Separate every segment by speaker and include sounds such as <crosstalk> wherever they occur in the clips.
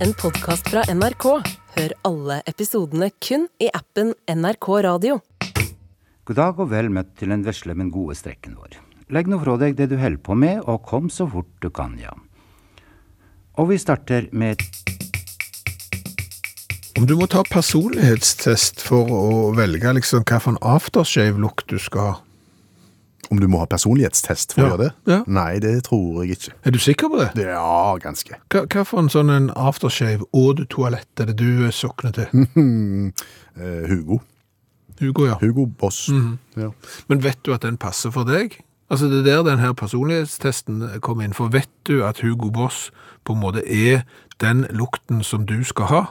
Speaker 1: en podkast fra NRK. Hør alle episodene kun i appen NRK Radio.
Speaker 2: God dag og vel møtt til den vesle, men gode strekken vår. Legg nå fra deg det du holder på med, og kom så fort du kan, ja. Og vi starter med
Speaker 3: Om du må ta personlighetstest for å velge liksom hva for en aftershave-lukt du skal ha.
Speaker 4: Om du må ha personlighetstest for
Speaker 3: Ja.
Speaker 4: å gjøre det?
Speaker 3: Ja.
Speaker 4: Nei, det tror jeg ikke.
Speaker 3: Er du sikker på det?
Speaker 4: Det er ganske.
Speaker 3: Hva, hva for en sånn en aftershave og du toalett er det du eh, sokner til?
Speaker 4: Eh, Hugo.
Speaker 3: Hugo, ja.
Speaker 4: Hugo Boss.
Speaker 3: Mhm.
Speaker 4: ja.
Speaker 3: Men vet du at den passer for deg? Altså det er der den her personlighetstesten kommer inn, for vet du at Hugo Boss på en måte er den lukten som du skal ha?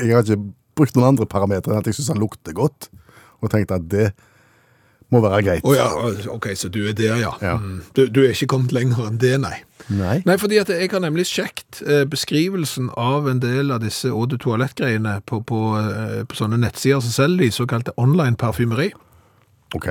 Speaker 4: Jeg har ikke brukt noen andre parametere enn at jeg syns han lukter godt, og tenkte at det må være greit.
Speaker 3: Å ja, ok, så du er der, ja.
Speaker 4: Ja.
Speaker 3: Mm. Du, du er ikke kommet lenger enn det, nei.
Speaker 4: Nei.
Speaker 3: Nei, fordi at jeg har nemlig sjekt eh, beskrivelsen av en del av disse eau de toilette-greiene på, på, eh, på sånne nettsider som selger de såkalte online parfymeri.
Speaker 4: Ok.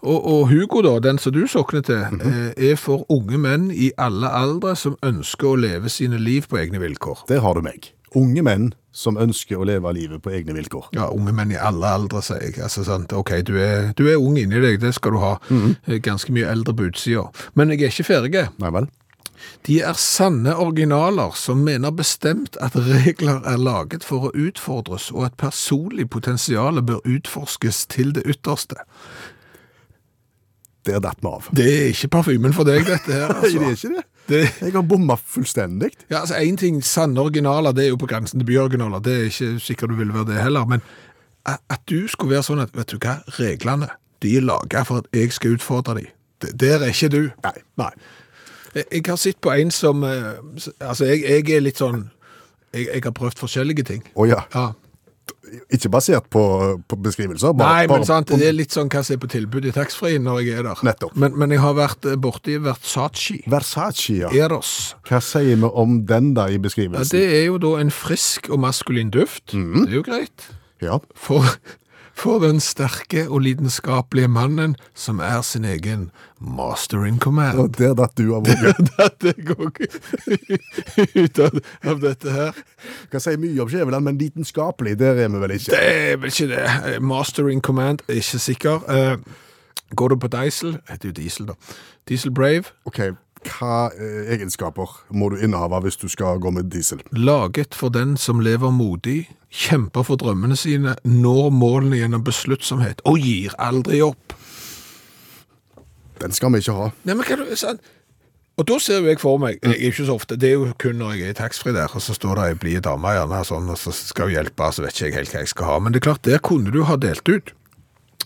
Speaker 3: Og, og Hugo, da, den som du sokner til, eh, er for unge menn i alle aldre som ønsker å leve sine liv på egne vilkår.
Speaker 4: Der har du meg. Unge menn som ønsker å leve livet på egne vilkår.
Speaker 3: Ja, unge menn i alle aldre, sier jeg. Altså, sant? Ok, du er, du er ung inni deg, det skal du ha. Eh, Ganske mye eldre på utsida. Men jeg er ikke ferdig.
Speaker 4: Nei vel?
Speaker 3: De er sanne originaler som mener bestemt at regler er laget for å utfordres, og at personlig potensial bør utforskes til det ytterste.
Speaker 4: Der datt vi av.
Speaker 3: Det er ikke parfymen for deg, dette her.
Speaker 4: <laughs> Nei, det er
Speaker 3: Altså.
Speaker 4: ikke det.
Speaker 3: Det,
Speaker 4: Jeg har bomma fullstendig.
Speaker 3: ja, altså, en ting, sanne originaler, det er jo på grensen til byoriginaler, det er ikke sikkert du vil være det heller, men at at du skulle være sånn at, vet du hva, reglene, de er laget for at jeg skal utfordre de. Det- Der er ikke du.
Speaker 4: Nei.
Speaker 3: Nei. Jeg, jeg har sett på en som eh, s- Altså, jeg, jeg er litt sånn jeg, jeg har prøvd forskjellige ting.
Speaker 4: Å ja.
Speaker 3: Ja.
Speaker 4: Ikke basert på, på beskrivelser.
Speaker 3: Nei, men sant,
Speaker 4: på-
Speaker 3: det er litt sånn hva som er på tilbud i taxfree når jeg er der.
Speaker 4: Nettopp.
Speaker 3: Men, men jeg har vært eh, borti Versace.
Speaker 4: Versace, ja.
Speaker 3: Eros.
Speaker 4: Hva sier vi om den da i
Speaker 3: Ja,
Speaker 4: beskrivelsen?
Speaker 3: det er jo da en frisk og maskulin duft.
Speaker 4: Mm.
Speaker 3: Det er jo greit.
Speaker 4: Ja.
Speaker 3: For, for den sterke og lidenskapelige mannen som er sin egen master in command.
Speaker 4: Og der datt du av unge.
Speaker 3: <laughs> Dette går ikke <laughs> ut av, av dette her.
Speaker 4: Kan si mye om Skjæveland, men lidenskapelig, der er vi vel ikke.
Speaker 3: Det er vel ikke det. Eh, Master in command, er ikke sikker. Eh, Går du på Diesel, heter jo Diesel da, Diesel Brave,
Speaker 4: Ok, hva eh, egenskaper må du inneha hvis du skal gå med diesel?
Speaker 3: laget for den som lever modig, kjemper for drømmene sine, når målene gjennom besluttsomhet og gir aldri opp.
Speaker 4: Den skal vi ikke ha.
Speaker 3: Nei, men hva er det sant? Og da ser jo jeg for meg, jeg er ikke så ofte, det er jo kun når jeg er i taxfree der, og så står det ei blid dame gjerne her sånn, og så skal hun hjelpe, så vet ikke jeg helt hva jeg skal ha. Men det er klart, der kunne du ha delt ut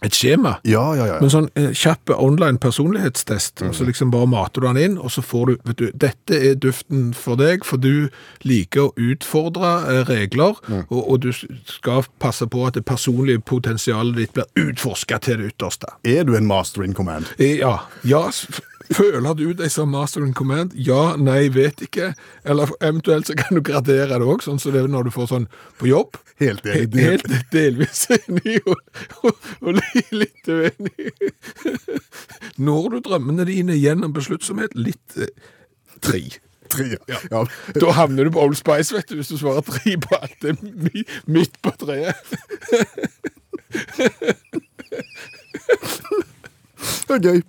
Speaker 3: et skjema.
Speaker 4: Ja, ja, Mm. ja.
Speaker 3: Men sånn eh, kjapp online personlighetstest, og så liksom bare mater du den inn, og så får du, vet du, dette er duften for deg, for du liker å utfordre eh, regler,
Speaker 4: Mm.
Speaker 3: og, og du s- skal passe på at det personlige potensialet ditt blir utforsket til det ytterste.
Speaker 4: Er du en master in command?
Speaker 3: Eh, Ja, ja, s- f- føler du deg som master in command? Ja, nei, vet ikke. Eller eventuelt så kan du gradere det også, sånn som det er når du får sånn på jobb.
Speaker 4: Helt
Speaker 3: He-
Speaker 4: enig.
Speaker 3: Helt delvis <laughs> enig og, og, og li- litt uenig. Når du drømmene dine gjennom besluttsomhet, litt eh, tre.
Speaker 4: Tre. Ja.
Speaker 3: Da havner du på Old Spice, vet du, hvis du svarer tre på alt det mi- midt på treet.
Speaker 4: Det er gøy.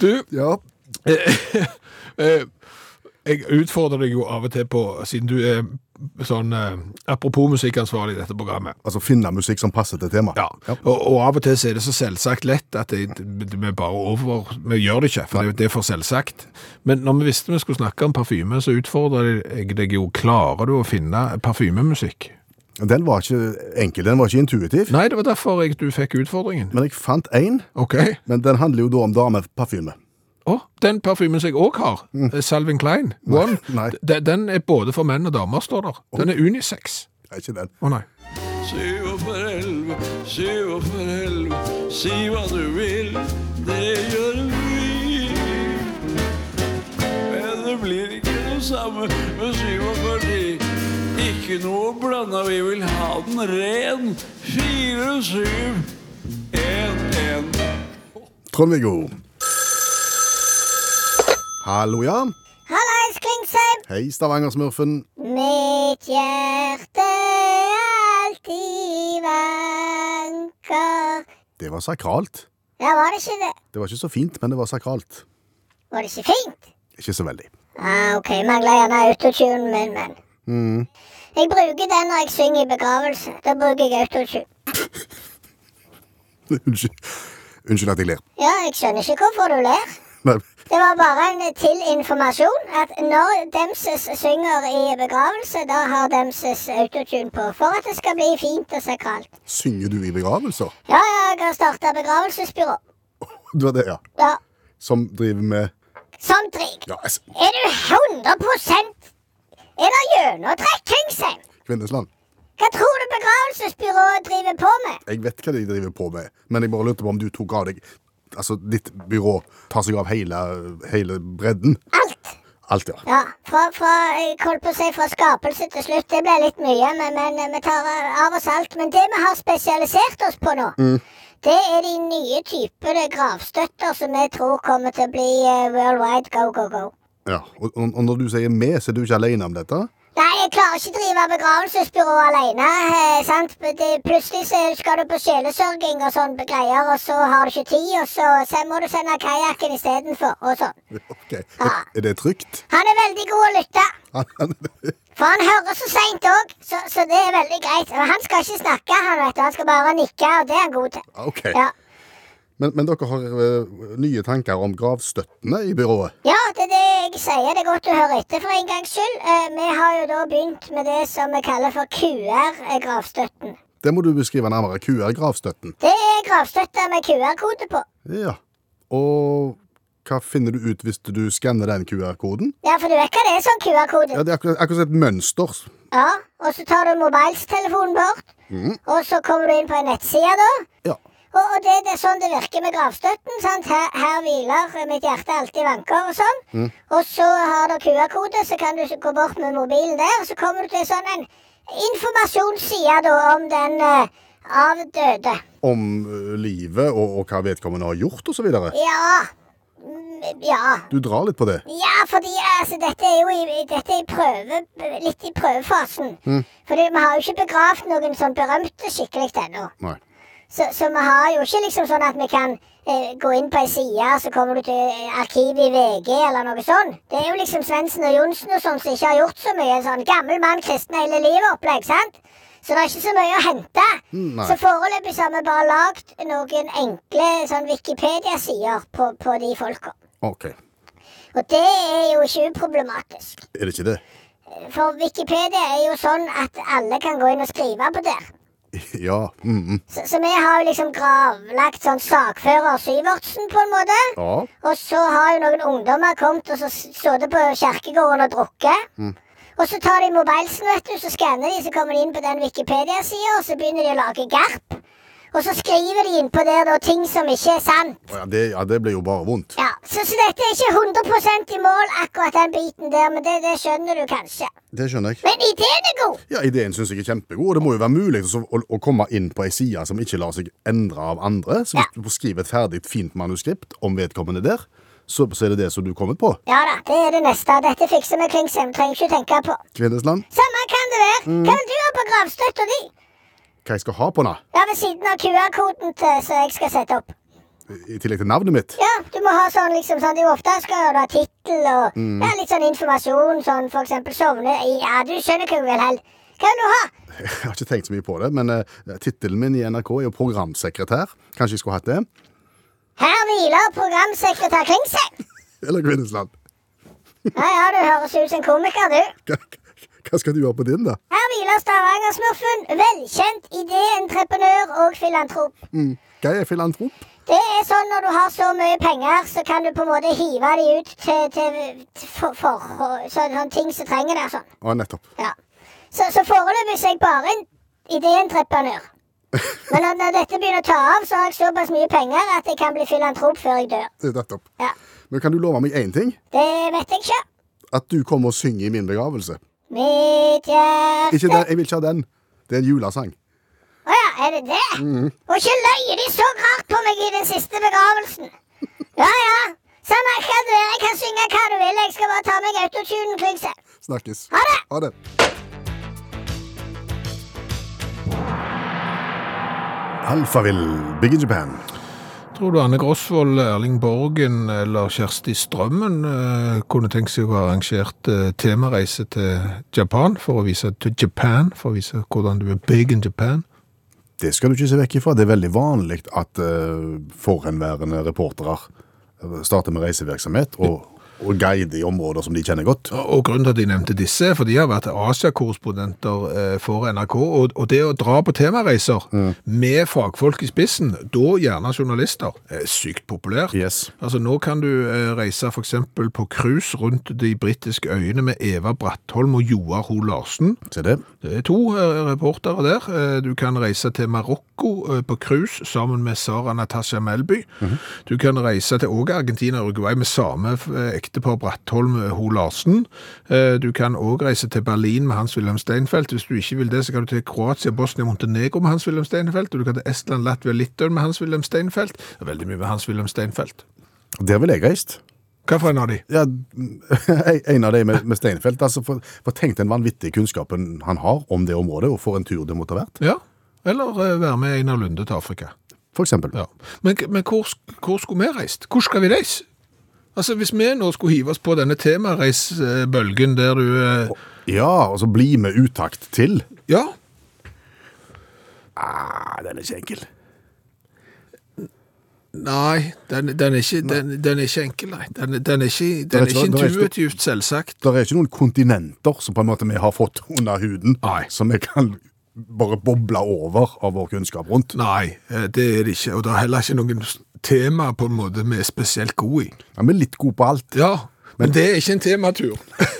Speaker 3: Du,
Speaker 4: Ja.
Speaker 3: <laughs> eh, jeg utfordrer deg jo av og til på, siden du er sånn eh, apropos musikkansvarlig i dette programmet.
Speaker 4: Altså finne musikk som passer til temaet.
Speaker 3: Ja, og, og av og til så er det så selvsagt lett at det, det- vi bare over, vi gjør det ikke, for det, det er for selvsagt. Men når vi visste vi skulle snakke om parfyme, så utfordrer jeg deg jo, klarer du å finne parfymemusikk?
Speaker 4: Den var ikke enkel, den var ikke intuitiv.
Speaker 3: Nei, det var derfor jeg, du fikk utfordringen.
Speaker 4: Men jeg fant én,
Speaker 3: Ok,
Speaker 4: men den handler jo da om dameparfyme.
Speaker 3: og den parfymen som jeg også har, eh, Salvin Klein, One,
Speaker 4: Mm. nei.
Speaker 3: Den, den er både for menn og damer, står der. Den er unisex.
Speaker 4: Det Er ikke den.
Speaker 3: Å nei.
Speaker 5: Syv og for elleve, syv og for elleve. Si hva du vil, det gjør vi. Men det blir ikke det samme med 47. Ikke noe blanda, vi vil ha den ren. Fire, syv, én, én.
Speaker 4: Trond-Viggo. Hallo, ja.
Speaker 6: Hallais, Klingsheim!
Speaker 4: Hei, Stavanger-smurfen.
Speaker 6: Mitt hjerte alltid vanker.
Speaker 4: Det var sakralt.
Speaker 6: Ja, var det ikke det?
Speaker 4: Det var ikke så fint, men det var sakralt.
Speaker 6: Var det ikke fint?
Speaker 4: Ikke så veldig. <laughs>
Speaker 6: Ja, ok, mangler gjerne autotune min, men. Jeg bruker den når jeg synger i begravelse. Da bruker jeg autotune.
Speaker 4: Unnskyld. Unnskyld at jeg ler.
Speaker 6: Ja, jeg skjønner ikke hvorfor du ler.
Speaker 4: Nei,
Speaker 6: Det var bare en til informasjon at når Demses synger i begravelse, da har Demses autotune på for at det skal bli fint og sakralt.
Speaker 4: Synger du i begravelser? <laughs>
Speaker 6: Ja, ja, jeg har starta begravelsesbyrå.
Speaker 4: Du er det, ja.
Speaker 6: Ja,
Speaker 4: Som driver med
Speaker 6: som drik.
Speaker 4: Ja, altså,
Speaker 6: Er du 100 Er det gjennomtrekk, Kingsheim?
Speaker 4: Kvinnesland.
Speaker 6: Hva tror du begravelsesbyrået driver på med?
Speaker 4: Jeg vet hva de driver på med, men jeg bare lurte på om du tok av deg Altså, ditt byrå tar seg av hele, hele bredden.
Speaker 6: Alt.
Speaker 4: Alt, ja.
Speaker 6: Ja, fra, fra, jeg holdt på å si fra skapelse til slutt. Det ble litt mye, men, men eh, vi tar eh, av oss alt. Men det vi har spesialisert oss på nå, det er de nye typene gravstøtter som vi tror kommer til å bli eh, worldwide go, go, go.
Speaker 4: ja. Og, og og når du sier med, så er du ikke alene om dette? <laughs>
Speaker 6: Nei, jeg klarer ikke å drive begravelsesbyrå alene. eh, sant? Det, plutselig så skal du på sjelesørging og sånn greier, og så har du ikke tid, og så, så må du sende kajakken istedenfor, og sånn.
Speaker 4: Ok, Er, er det trygt?
Speaker 6: Han er veldig god å lytte. For han hører så seint òg, så, så det er veldig greit. Og han skal ikke snakke, han vet du. Han skal bare nikke, og det er han god til.
Speaker 4: OK.
Speaker 6: Ja,
Speaker 4: Men, men dere har eh, nye tanker om gravstøttene i byrået?
Speaker 6: ja det er det jeg sier. Det er godt du hører etter for en gangs skyld. Eh, vi har jo da begynt med det som vi kaller for eh, QR-gravstøtten.
Speaker 4: Det må du beskrive nærmere. QR-gravstøtten.
Speaker 6: Det er gravstøtte med QR-kode på.
Speaker 4: Ja. Og hva finner du ut hvis du skanner den QR-koden?
Speaker 6: Ja, for du vet hva det er sånn QR-kode?
Speaker 4: Ja, Det er akkurat, akkurat et mønster.
Speaker 6: Ja, og så tar du mobiltelefonen bort, og så kommer du inn på en nettside da.
Speaker 4: Ja.
Speaker 6: Og, og det, det er sånn det virker med gravstøtten. sant? Her, her hviler eh, mitt hjerte alltid vanker og sånn. Og så har du QR-kode, så kan du gå bort med mobilen der. Og så kommer du til sånn en informasjonsside da om den eh, avdøde.
Speaker 4: Om eh, livet og, og hva vedkommende har gjort, osv.
Speaker 6: Ja. Mm, Ja.
Speaker 4: Du drar litt på det.
Speaker 6: Ja, fordi altså, dette er jo i, i- dette er i prøve, litt i prøvefasen. Fordi vi har jo ikke begravd noen sånn berømte skikkelig ennå.
Speaker 4: Nei.
Speaker 6: Så, så vi har jo ikke liksom sånn at vi kan eh, gå inn på ei side, så kommer du til eh, arkivet i VG eller noe sånn. Det er jo liksom Svendsen og Johnsen og sånn som ikke har gjort så mye. En sånn gammel mann, kristen hele livet-opplegg, sant? Så det er ikke så mye å hente.
Speaker 4: Nei.
Speaker 6: Så foreløpig så har vi bare lagd noen enkle sånn Wikipedia-sider på, på de folka.
Speaker 4: OK. Er
Speaker 6: Og det er jo ikke uproblematisk.
Speaker 4: det ikke det? <laughs>
Speaker 6: For Wikipedia er jo sånn at alle kan gå inn og skrive på der.
Speaker 4: Ja. Mm, mm.
Speaker 6: Så, så vi har jo liksom gravlagt sånn sakfører Syvertsen på en måte.
Speaker 4: ja.
Speaker 6: Og så har jo noen ungdommer kommet og så s- sittet på kjerkegården og drukket. Og så tar de mobilsen, vet du, så skanner de, så kommer de inn på den Wikipedia-sida, og så begynner de å lage garp. Og så skriver de innpå der da ting som ikke er sant.
Speaker 4: Å, Ja, det, ja, det blir jo bare vondt.
Speaker 6: Ja, Så, så dette er ikke 100 i mål, akkurat den biten der, men det, det skjønner du kanskje.
Speaker 4: Det skjønner jeg.
Speaker 6: Men ideen er god!
Speaker 4: Ja, Ideen syns jeg er kjempegod, og det må jo være mulig å, å, å komme inn på ei side som ikke lar seg endre av andre. Så hvis du får skrive et ferdig, fint manuskript om vedkommende der, så, så er det det som du kommer på.
Speaker 6: Ja da, det er det neste. Dette fikser vi, Klingsheim. Trenger ikke tenke på.
Speaker 4: Kvinnesland,
Speaker 6: Samme kan det være. Hva vil du ha på gravstøtta di?
Speaker 4: hva jeg skal ha på nå?
Speaker 6: Ja, ved siden av QR-koden til- som jeg skal sette opp.
Speaker 4: I tillegg til navnet mitt? <laughs>
Speaker 6: Ja, du må ha sånn liksom sånn Du ofte skal du ha tittel og ja, litt sånn informasjon, sånn for eksempel sovne Ja, du skjønner hva jeg vil hell. Hva vil du ha?
Speaker 4: Jeg har ikke tenkt så mye på det, men uh, tittelen min i NRK er jo programsekretær. Kanskje jeg skulle hatt det?
Speaker 6: Her hviler programsekretær Klingsheim.
Speaker 4: Eller Kvinnesland?
Speaker 6: Ja, ja, du høres ut som en komiker, du.
Speaker 4: Hva, hva skal du ha på din, da?
Speaker 6: Her hviler Stavanger-smurfen, velkjent idéentreprenør og filantrop.
Speaker 4: Hva er filantrop?
Speaker 6: Det er sånn når du har så mye penger, så kan du på en måte hive de ut til, til, til for, for, sånn- sånn ting som trenger det. og Sånn.
Speaker 4: Å, nettopp.
Speaker 6: Ja. Så, så foreløpig så er jeg bare en idéentreprenør. Men når, når dette begynner å ta av, så har jeg såpass mye penger at jeg kan bli filantrop før jeg dør.
Speaker 4: nettopp.
Speaker 6: Ja.
Speaker 4: Men kan du love meg én ting?
Speaker 6: Det vet jeg ikke.
Speaker 4: At du kommer og synger i min begravelse.
Speaker 6: Mitt hjerte
Speaker 4: Ikke den, jeg vil ikke ha den. Det er en julesang.
Speaker 6: Å ja, er det det? Og ikke løy de så rart på meg i den siste begravelsen. Sånn Ja ja. Samme hva du er, jeg kan synge hva du vil. Jeg skal bare ta meg autotunen, Klingse.
Speaker 7: Snakkes.
Speaker 6: Ha det!
Speaker 7: Ha det.
Speaker 4: Alfavill, Big in Japan.
Speaker 3: Tror du Anne Grosvold, Erling Borgen eller Kjersti Strømmen eh, kunne tenkt seg å ha arrangert eh, temareise til Japan for å vise til Japan, for å vise hvordan du er big in Japan?
Speaker 4: Det skal du ikke se vekk ifra. Det er veldig vanlig at eh, forhenværende reportere eh, starter med reisevirksomhet og, og guide i områder som de kjenner godt.
Speaker 3: Og og grunnen til at jeg nevnte disse, er for de har vært Asia-korrespondenter eh, for NRK, og, og det å dra på temareiser med fagfolk i spissen, da gjerne journalister, er sykt populært.
Speaker 4: Yes.
Speaker 3: Altså nå kan du eh, reise for eksempel på krus rundt de britiske øyene med Eva Brattholm og Joar Ho Larsen.
Speaker 4: Se det.
Speaker 3: Det er to eh, reportere der. Eh, Du kan reise til Marokko eh, på cruise sammen med Sara Natasha Melby. Du kan reise til også Argentina og Uruguay med samme eh, ektepar Brattholm eh, Ho Larsen. Eh, Du kan også reise til Berlin med Hans-Wilhelm Steinfeld. Hvis du ikke vil det, så kan du til Kroatia, Bosnia og Montenegro med Hans-Wilhelm Steinfeld. Og du kan til Estland, Latvia og Litauen med Hans-Wilhelm Steinfeld. Det er veldig mye med Hans-Wilhelm Steinfeld.
Speaker 4: Der ville jeg reist.
Speaker 3: Hva for en av de?
Speaker 4: Ja, <laughs> en av de med, med Steinfeld. Altså, for, for tenk den vanvittige kunnskapen han har om det området, og for en tur det måtte ha vært.
Speaker 3: Ja. Eller eh, være med Einar Lunde til Afrika.
Speaker 4: For eksempel.
Speaker 3: Ja. Men, men hvor, sk- hvor skulle vi reist? Hvor skal vi reise? Altså, Hvis vi nå skulle hive oss på denne temareisbølgen der du eh,
Speaker 4: Ja, og så bli med utakt til.
Speaker 3: Ja,
Speaker 4: Ah, den er ikke enkel.
Speaker 3: nei, den, den, er, ikke, den, den er ikke enkel, nei. Den, den er ikke, den er
Speaker 4: er ikke-
Speaker 3: ikke
Speaker 4: det er ikke-
Speaker 3: intuitivt, selvsagt.
Speaker 4: Det er ikke noen kontinenter som på en måte vi har fått under huden,
Speaker 3: Nei.
Speaker 4: som vi kan bare boble over av vår kunnskap rundt.
Speaker 3: Nei, eh, det er det ikke. Og det er heller ikke noen s- tema på en måte vi er spesielt gode i.
Speaker 4: Ja, vi er litt gode på alt. <laughs>
Speaker 3: Ja, men det er ikke en tematur.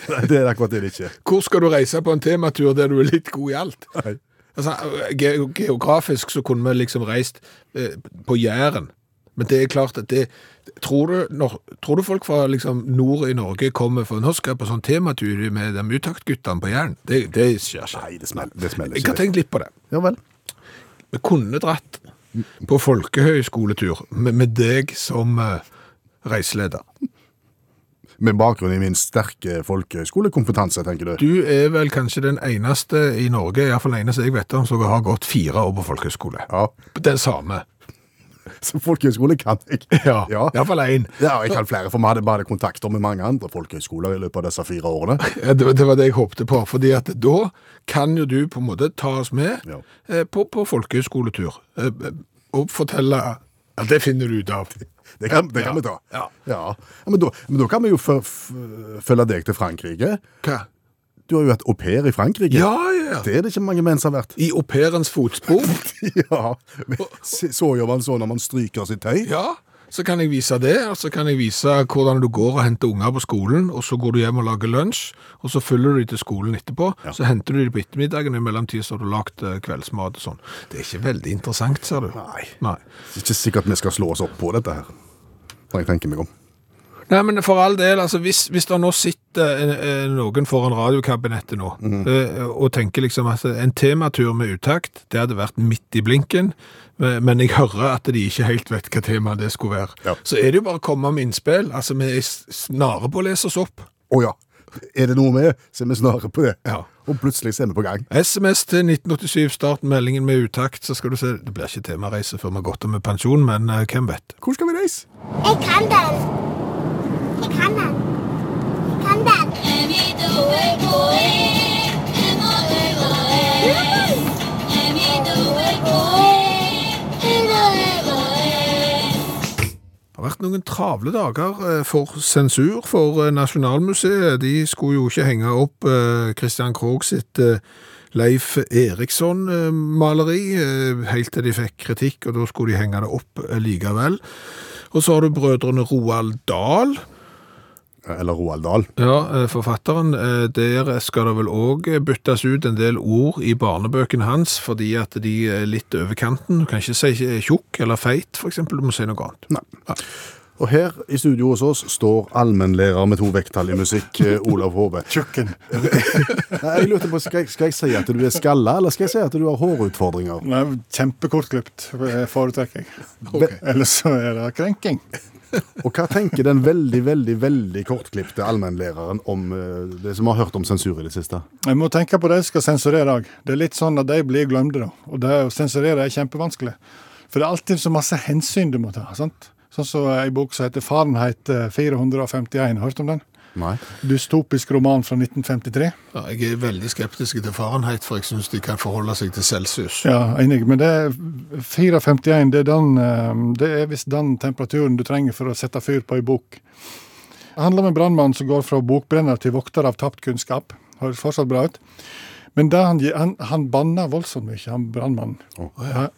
Speaker 4: Nei, det er akkurat det det ikke er.
Speaker 3: Hvor skal du reise på en tematur der du er litt god i alt?
Speaker 4: Nei.
Speaker 3: Altså, ge geografisk så kunne vi liksom reist eh, på Jæren. Men det er klart at det Tror du, når, tror du folk fra liksom, nord i Norge kommer for Nå skal jeg på sånn tematur med de utaktguttene på Jæren. Det, det skjer ikke.
Speaker 4: Nei, det smeller, det smeller
Speaker 3: Jeg
Speaker 4: ikke.
Speaker 3: har tenkt litt på det.
Speaker 4: Ja vel.
Speaker 3: Vi kunne dratt på folkehøyskoletur med, med deg som eh, reiseleder.
Speaker 4: Med bakgrunn i min sterke folkeskolekompetanse, tenker du.
Speaker 3: Du er vel kanskje den eneste i Norge, iallfall den eneste jeg vet om, som har gått fire år på folkehøyskole.
Speaker 4: Ja,
Speaker 3: Den samme.
Speaker 4: så folkehøyskole kan jeg.
Speaker 3: Ja,
Speaker 4: Ja.
Speaker 3: iallfall én.
Speaker 4: Ja, og jeg kan flere, for vi hadde bare kontakter med mange andre folkehøyskoler i løpet av disse fire årene. <laughs>
Speaker 3: Ja, det, var- det var det jeg håpte på, fordi at da kan jo du på en måte ta oss med
Speaker 4: Ja.
Speaker 3: eh, på, på folkehøyskoletur eh, og fortelle ja, det finner du ut av.
Speaker 4: Det kan, det
Speaker 3: Ja.
Speaker 4: kan vi ta.
Speaker 3: Ja.
Speaker 4: Ja. Men, da, men da kan vi jo fø- f- følge deg til Frankrike.
Speaker 3: Hva?
Speaker 4: Du har jo vært au pair i Frankrike.
Speaker 3: Ja, ja, ja.
Speaker 4: Det er det ikke mange menn som har vært.
Speaker 3: I au pairens fotspor.
Speaker 4: <laughs>
Speaker 3: <laughs>
Speaker 4: Ja, men se- så gjør man så når man stryker sitt tøy.
Speaker 3: Ja, så kan jeg vise det, og så kan jeg vise hvordan du går og henter unger på skolen, og så går du hjem og lager lunsj, og så følger du de til skolen etterpå, så henter du de på ettermiddagen, og i mellomtiden så har du lagt eh, kveldsmat og sånn. Det er ikke veldig interessant, ser du.
Speaker 4: Nei.
Speaker 3: Nei.
Speaker 4: Det er ikke sikkert vi skal slå oss opp på dette her, når jeg tenker meg om.
Speaker 3: Nei, men for all del, altså hvis, hvis det nå sitter eh, eh, noen foran radiokabinettet nå, eh, og tenker liksom at en tematur med uttakt, det hadde vært midt i blinken, eh, men jeg hører at de ikke helt vet hva tema det skulle være.
Speaker 4: Ja.
Speaker 3: Så er det jo bare å komme med innspill, altså vi er snare på å lese oss opp.
Speaker 4: Å ja, er det noe med, så er vi snarere på det.
Speaker 3: Ja.
Speaker 4: Og plutselig så er vi på gang.
Speaker 3: SMS til 1987, start meldingen med uttakt, så skal du se, det blir ikke temareise før vi har gått av med pensjon, men eh, hvem vet?
Speaker 4: Hvor skal vi reise?
Speaker 6: Jeg kan den. Jeg kan den. Jeg kan den.
Speaker 3: Det har vært noen travle dager eh, for sensur for eh, Nasjonalmuseet. De skulle jo ikke henge opp eh, Christian Krogh sitt eh, Leif Eriksson-maleri, eh, helt til de fikk kritikk, og da skulle de henge det opp eh, likevel. Og så har du brødrene Roald Dahl,
Speaker 4: Eller Roald Dahl.
Speaker 3: ja, eh, forfatteren, eh, der skal det vel òg byttes ut en del ord i barnebøkene hans, fordi at de er litt over kanten. Du kan ikke si eh, tjukk eller feit, for eksempel. Du må si noe annet.
Speaker 4: Og her i studio hos oss står allmennlærer med to vekttall i musikk, eh, Olav <laughs> Hove.
Speaker 8: Tjukken.
Speaker 4: Nei, jeg lurte på, skal jeg, skal jeg si at du er skalla, eller skal jeg si at du har hårutfordringer?
Speaker 7: <laughs>
Speaker 8: Nei, Kjempekortklipt eh, foretrekker jeg.
Speaker 4: Ok.
Speaker 8: Ellers så er det krenking.
Speaker 4: Og hva tenker den veldig, veldig veldig kortklipte allmennlæreren om eh, det som har hørt om sensur i det siste?
Speaker 7: Jeg må tenke på det jeg skal sensurere òg. Det er litt sånn at de blir glemte, da. Og det å sensurere er kjempevanskelig. For det er alltid så masse hensyn du må ta. sant? Sånn som ei bok som heter 'Fahrenheit eh, 451'. Hørt om den?
Speaker 4: Nei.
Speaker 7: Dystopisk roman fra 1953.
Speaker 3: Ja, jeg er veldig skeptisk til Fahrenheit, for jeg syns de kan forholde seg til celsius.
Speaker 7: Ja, enig. Men det er 451 det er, den, eh, det er visst den temperaturen du trenger for å sette fyr på ei bok. Det handler om en brannmann som går fra bokbrenner til vokter av tapt kunnskap. Høres fortsatt bra ut. Men det han, gje- han, han banna voldsomt mye, han brannmannen. Ja,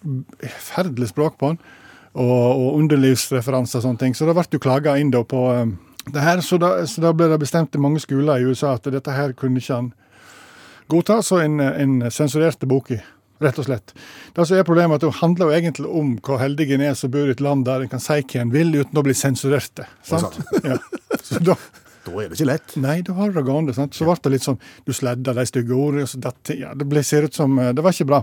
Speaker 7: Forferdelig språk på han. Og, og underlivsreferanser og sånne ting. Så det ble jo klaga inn da på eh, det her. Så da, så da ble det bestemt i mange skoler i USA at dette her kunne ikke han godta, så en, en sensurerte boka, rett og slett. Det som er problemet, er at det handler jo egentlig om hvor heldige en er som bor i et land der en kan si hva en vil uten å bli sensurerte. Sant? Ja. Så da,
Speaker 4: Da er det ikke lett.
Speaker 7: nei, da har du det gående. Sant? Så ble det litt sånn Du sledda de stygge ordene. og så datt det- ja, det ble, ser ut som eh, Det var ikke bra.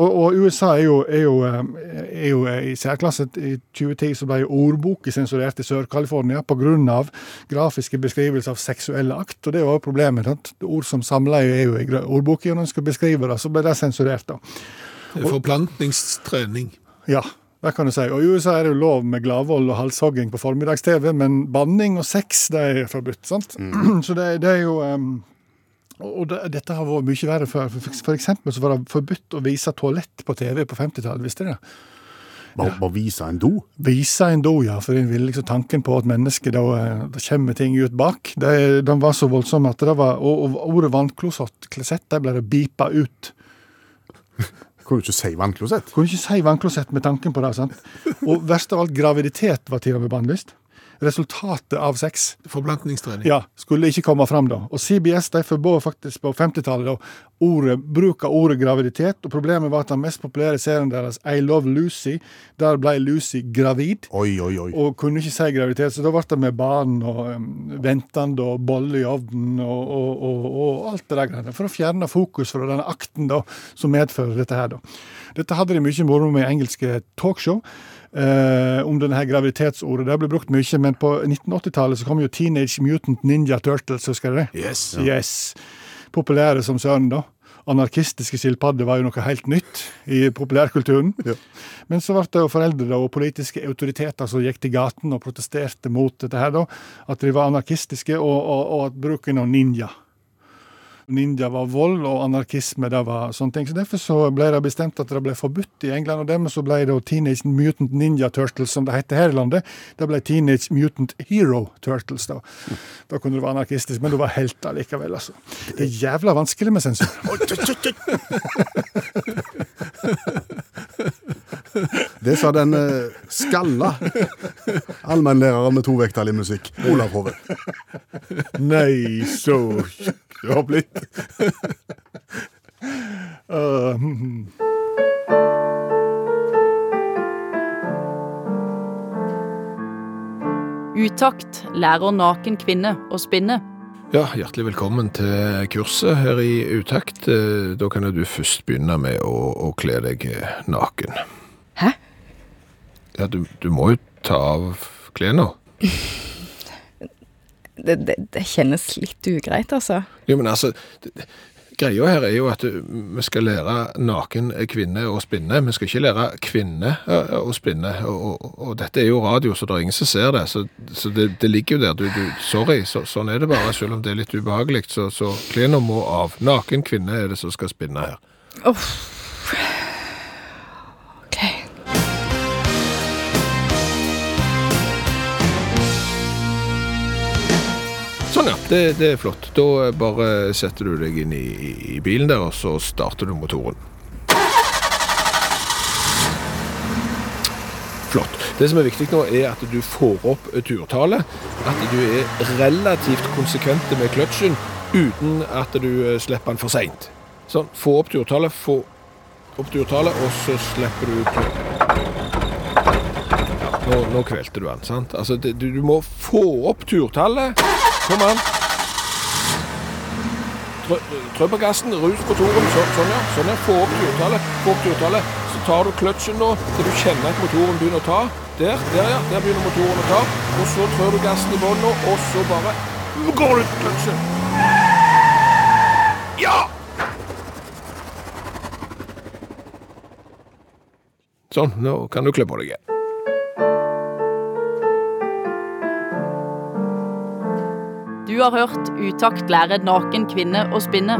Speaker 7: Og, og USA er jo, er, jo, eh, er jo eh, i særklasse. I 2010 så ble jo ordboka sensurert i Sør-California pga. grafiske beskrivelser av seksuelle akt. Og det var jo problemet. Sant? Ord som samleie er jo i gra- ordboka, og når en skal beskrive det, så ble det sensurert. da.
Speaker 3: Det er Forplantningstrening.
Speaker 7: Ja, det kan du si. Og i USA er det jo lov med gladvold og halshogging på formiddags-TV, men banning og sex det er forbudt. sant? <clears throat> Så det, er- det er jo em, Og det, dette har vært mye verre før. For, for eksempel så var det forbudt å vise toalett på TV på 50-tallet, visste dere?
Speaker 4: Bare, bare vise en do.
Speaker 7: Vise en do, ja. For en ville liksom tanken på at mennesket da, eh, da kommer ting ut bak. Det, den var så voldsom at det var Og, og ordet vannklosett, klosett, det ble det beepa ut.
Speaker 4: Kan du ikke si vannklosett?
Speaker 7: Kunne ikke si vannklosett med tanken på det. sant? Og verst av alt, graviditet var til og med bannlyst. Resultatet av sex
Speaker 3: Forplantningstrening.
Speaker 7: ja, skulle ikke komme fram da. Og CBS de forbød faktisk på 50-tallet da, ordet, bruk av ordet graviditet. og Problemet var at den mest populære serien deres, I Love Lucy, der ble Lucy gravid.
Speaker 4: Oi, oi, oi.
Speaker 7: Og kunne ikke si graviditet, så da ble det med barn og um, ventende og bolle i ovnen og, og, og, og alt det der greiene. For å fjerne fokus fra denne akten da, som medfører dette her, da. Dette hadde de mye moro med i engelske talkshow. eh, om denne her graviditetsordet. Det ble brukt mye, men på 1980-tallet så kom jo Teenage Mutant Ninja Turtles, husker dere det?
Speaker 3: Yes.
Speaker 7: Yes. Populære som søren, da. Anarkistiske skilpadder var jo noe helt nytt i populærkulturen. Men så ble det jo foreldre da, og politiske autoriteter som gikk til gaten og protesterte mot dette her, da. At de var anarkistiske, og, og, og at bruken av ninja. Ninja var vold, og anarkisme det var sånne ting. Så Derfor så ble det bestemt at det ble forbudt i England, og dermed så ble det jo Teenage Mutant Ninja Turtles, som det heter her i landet. Det ble Teenage Mutant Hero Turtles, da. Da kunne du være anarkistisk, men du var helt allikevel, altså. Det er jævla vanskelig med sensur.
Speaker 4: Det sa den eh, skalla allmennlæreren med to vekttall i musikk, Olav Hove.
Speaker 7: Nei, så det har blitt. Øh,
Speaker 8: Utakt lærer naken kvinne å spinne.
Speaker 3: Ja, hjertelig velkommen til kurset her i Utakt. Eh, Da kan jo du først begynne med å, å kle deg eh, naken.
Speaker 9: Hæ?
Speaker 3: Ja, du, du må jo ta av klærne.
Speaker 9: <laughs> Det, det, det kjennes litt ugreit, altså.
Speaker 3: Jo, men altså, det- det- greia her er jo at eh, vi skal lære naken kvinne å spinne. Vi skal ikke lære kvinne eh, å spinne. Og, og, og dette er jo radio, så det er ingen som ser det. Så, så det, det ligger jo der. Du, du, sorry, så, sånn er det bare. Selv om det er litt ubehagelig, så, så klærne må av. Naken kvinne er det som skal spinne her.
Speaker 9: Ok.
Speaker 3: Sånn, ja. Det, det er flott. Da bare setter du deg inn i, i bilen der, og så starter du motoren. Flott. Det som er viktig nå, er at du får opp turtallet. At du er relativt konsekvent med kløtsjen uten at du eh, slipper den for seint. Sånn. Få opp turtallet, få opp turtallet, og så slipper du kløtsjen. Nå, nå kvelte du han, sant? Altså, det, du, du må få opp turtallet. Kom an. Trø, trø på gassen, rus på toren. Så, sånn, ja. sånn, ja. Få opp turtallet. Få opp turtallet. Så tar du kløtsjen nå, til du kjenner at motoren begynner å ta. Der, der, ja. Der begynner motoren å ta. Og så trør du gassen i bånn, nå, og så bare går du ut kløtsjen. Ja! Sånn, nå kan du klø på deg igjen.
Speaker 8: Du har hørt Utakt lære naken kvinne å spinne.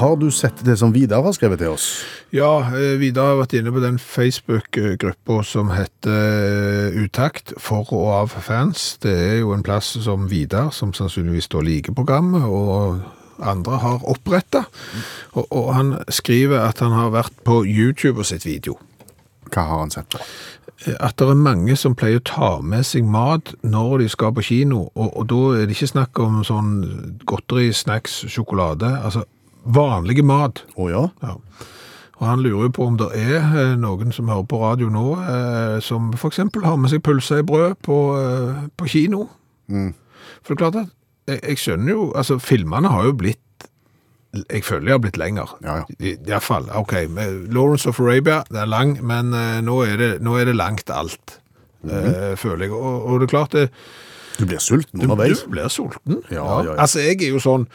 Speaker 4: Har du sett det som Vidar har skrevet til oss?
Speaker 3: Ja, eh, Vidar har vært inne på den Facebook-gruppa som heter eh, Utakt for og av fans. Det er jo en plass som Vidar, som sannsynligvis da liker programmet, og andre har oppretta. Og, og han skriver at han har vært på YouTube og sett video. Eh,
Speaker 4: Hva har han sett på?
Speaker 3: at det er mange som pleier å ta med seg mat når de skal på kino, og, og da er det ikke snakk om sånn godteri, snacks, sjokolade, altså vanlige mat.
Speaker 4: Å ja?
Speaker 3: Ja. Og han lurer jo på om det er eh, noen som hører på radio nå, eh, som for eksempel har med seg pølse i brød på, eh, på kino. For det er klart at, jeg, jeg skjønner jo, altså filmene har jo blitt jeg føler de har blitt lenger.
Speaker 4: Ja, ja.
Speaker 3: I, i hvert fall, ok. med Lawrence of Arabia, det er lang, men eh, nå, er det, nå er det langt alt, eh, føler jeg. Og, og det er klart, eh, det,
Speaker 4: Du blir sulten
Speaker 3: du,
Speaker 4: underveis.
Speaker 3: du blir sulten.
Speaker 4: Ja, ja, ja.
Speaker 3: Altså, jeg er jo sånn